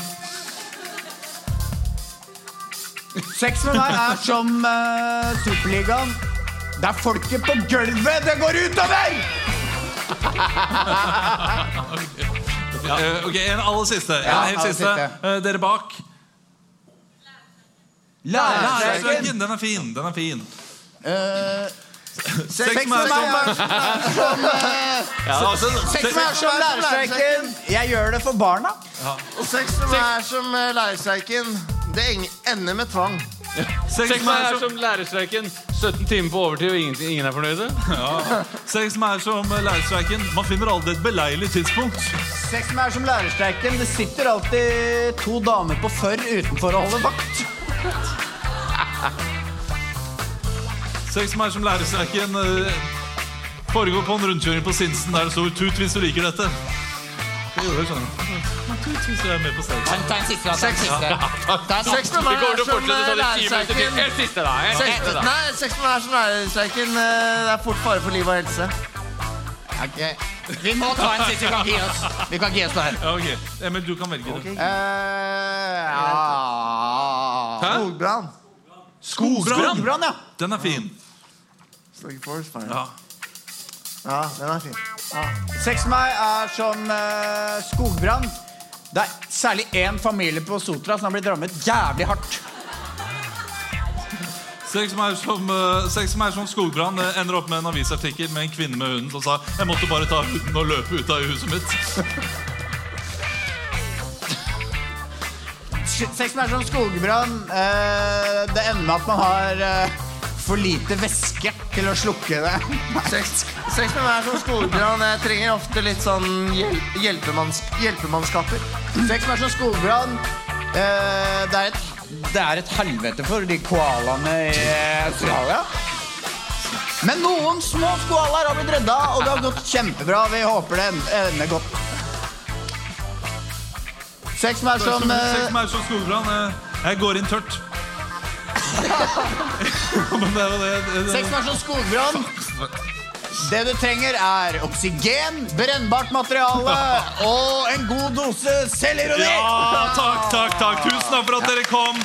Sex med meg er som eh, Superligaen. Det er folket på gulvet det går utover!
Ja. Eh, Ok, En aller siste. En
Ja,
helt
aller
siste.
siste.
Eh, dere bak.
Lærerstreiken.
Lærerstreiken! Den er fin. den er fin
Eh,
Sex med meg er som
som, eh,
Ja, altså,
Sex med meg er som lærerstreiken. Jeg gjør det for barna.
Og sex med meg er som eh, lærerstreiken. Det eng- ender med tvang.
Sex
Sex med meg er som lærerstreiken. 17 timer på overtid, og ingen, ingen er fornøyde.
Ja. Sex med meg er som lærerstreiken. Man finner aldri et beleilig tidspunkt.
Sex med meg er som lærerstreiken. Det sitter alltid to damer på forr utenfor og holder vakt.
Sex med meg er som lærerstreiken. eh, Foregår på en rundkjøring på Sinsen der det sånn. står 'tut hvis du liker dette'. Det gjorde jeg, skjønner du. ut hvis du er med på stage.
Ta en- ta en siste, da, ta en siste. Ta en
Seks med meg
Vi kommer til å
som,
fortsette sånn i
eh,
ti minutter til.
lærerstreiken.
En siste, da,
eh.
en
Seks-
siste, da.
Nei, seks med meg sånn som lærerstreiken. eh, Det er fort fare for liv og helse.
Ok. Vi må ta en siste. Vi kan gi oss. Vi kan gi oss der.
Ja, ok. Eh, Men du kan velge det.
Hæ?
Skogbrann.
Skogbrann?
Skogbrann, ja.
Den er fin.
Sørg for oss, faen.
Ja.
Ja, den er fin.
Ja. Sex med meg er som eh, skogbrann. Det er særlig én familie på Sotra som har blitt rammet jævlig hardt.
Sex som er som, eh, sex som, er som skogbrann eh, ender opp med en avisartikkel med en kvinne med hunden som sa 'Jeg måtte bare ta hunden og løpe ut av huset mitt'.
Sex med meg er som skogbrann. eh, det ender med at man har eh, for lite væske til å slukke det.
Sex, sex med meg er som skogbrann. Jeg trenger ofte litt sånn hjel hjelpemanns hjelpemannskaper.
Sex med meg er som skogbrann. eh, det, er et, det er et helvete for de koalaene i Australia. Men noen små koalaer har blitt redda, og det har gått kjempebra. Vi håper det end- ender godt. Sex med meg er som eh,
Sex som er som skogbrann. eh, Jeg går inn tørt. Ja, Men det er jo det- det- det-
Sex med meg er som skogbrann. Det du trenger, er oksygen, brennbart materiale og en god dose selvironi.
Ja, takk, takk, takk. Tusen takk for at dere kom.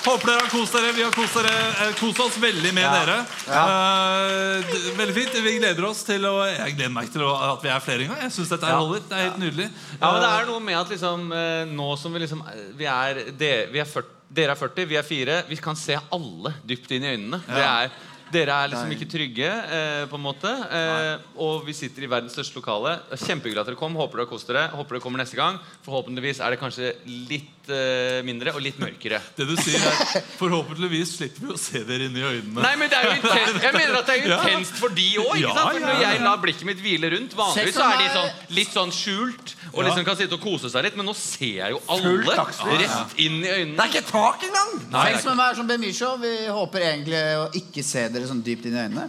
Håper dere har kost dere. Vi har kost, dere, eh, kost oss veldig med
Ja.
dere. Eh, d- veldig fint. Vi gleder oss til å Jeg gleder meg til å, at vi er flere en gang. Jeg synes dette her
Ja.
holder. Det er helt nydelig.
Ja, men det er noe med at liksom, eh, nå som vi liksom eh, Vi er, de, vi er 40, Dere er 40, vi er fire. Vi kan se alle dypt inn i øynene. Det
Ja.
er, dere er liksom
Nei.
ikke trygge, eh, på en måte. Eh, og vi sitter i verdens største lokale. Kjempehyggelig at dere kom. Håper dere har kost dere. Håper dere kommer neste gang. Forhåpentligvis er det kanskje litt eh, mindre og litt mørkere.
Eh, Det du sier er Forhåpentligvis slipper vi å se dere inn i øynene.
Nei, men det er jo intenst. Jeg mener at det er jo
Ja.
intenst for de òg.
Ja, ja,
Når
ja.
jeg lar blikket mitt hvile rundt Vanligvis
Sex
så
og
er de
meg-
sånn, litt sånn skjult og
Ja.
liksom kan sitte og kose seg litt, men nå ser jeg jo
Fullt
alle
dagslys.
rett inn i øynene.
Det er ikke tak engang!
Nei, det er
Sex med meg er som Bemisho. Vi håper egentlig å ikke se dere sånn dypt inn i øynene.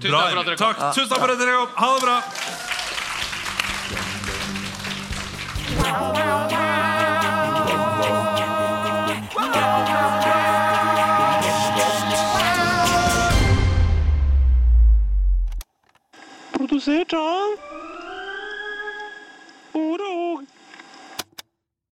Tusen takk for at dere kom. Takk. Tusen takk for at dere kom. Ha det bra.
Wow, wow, wow.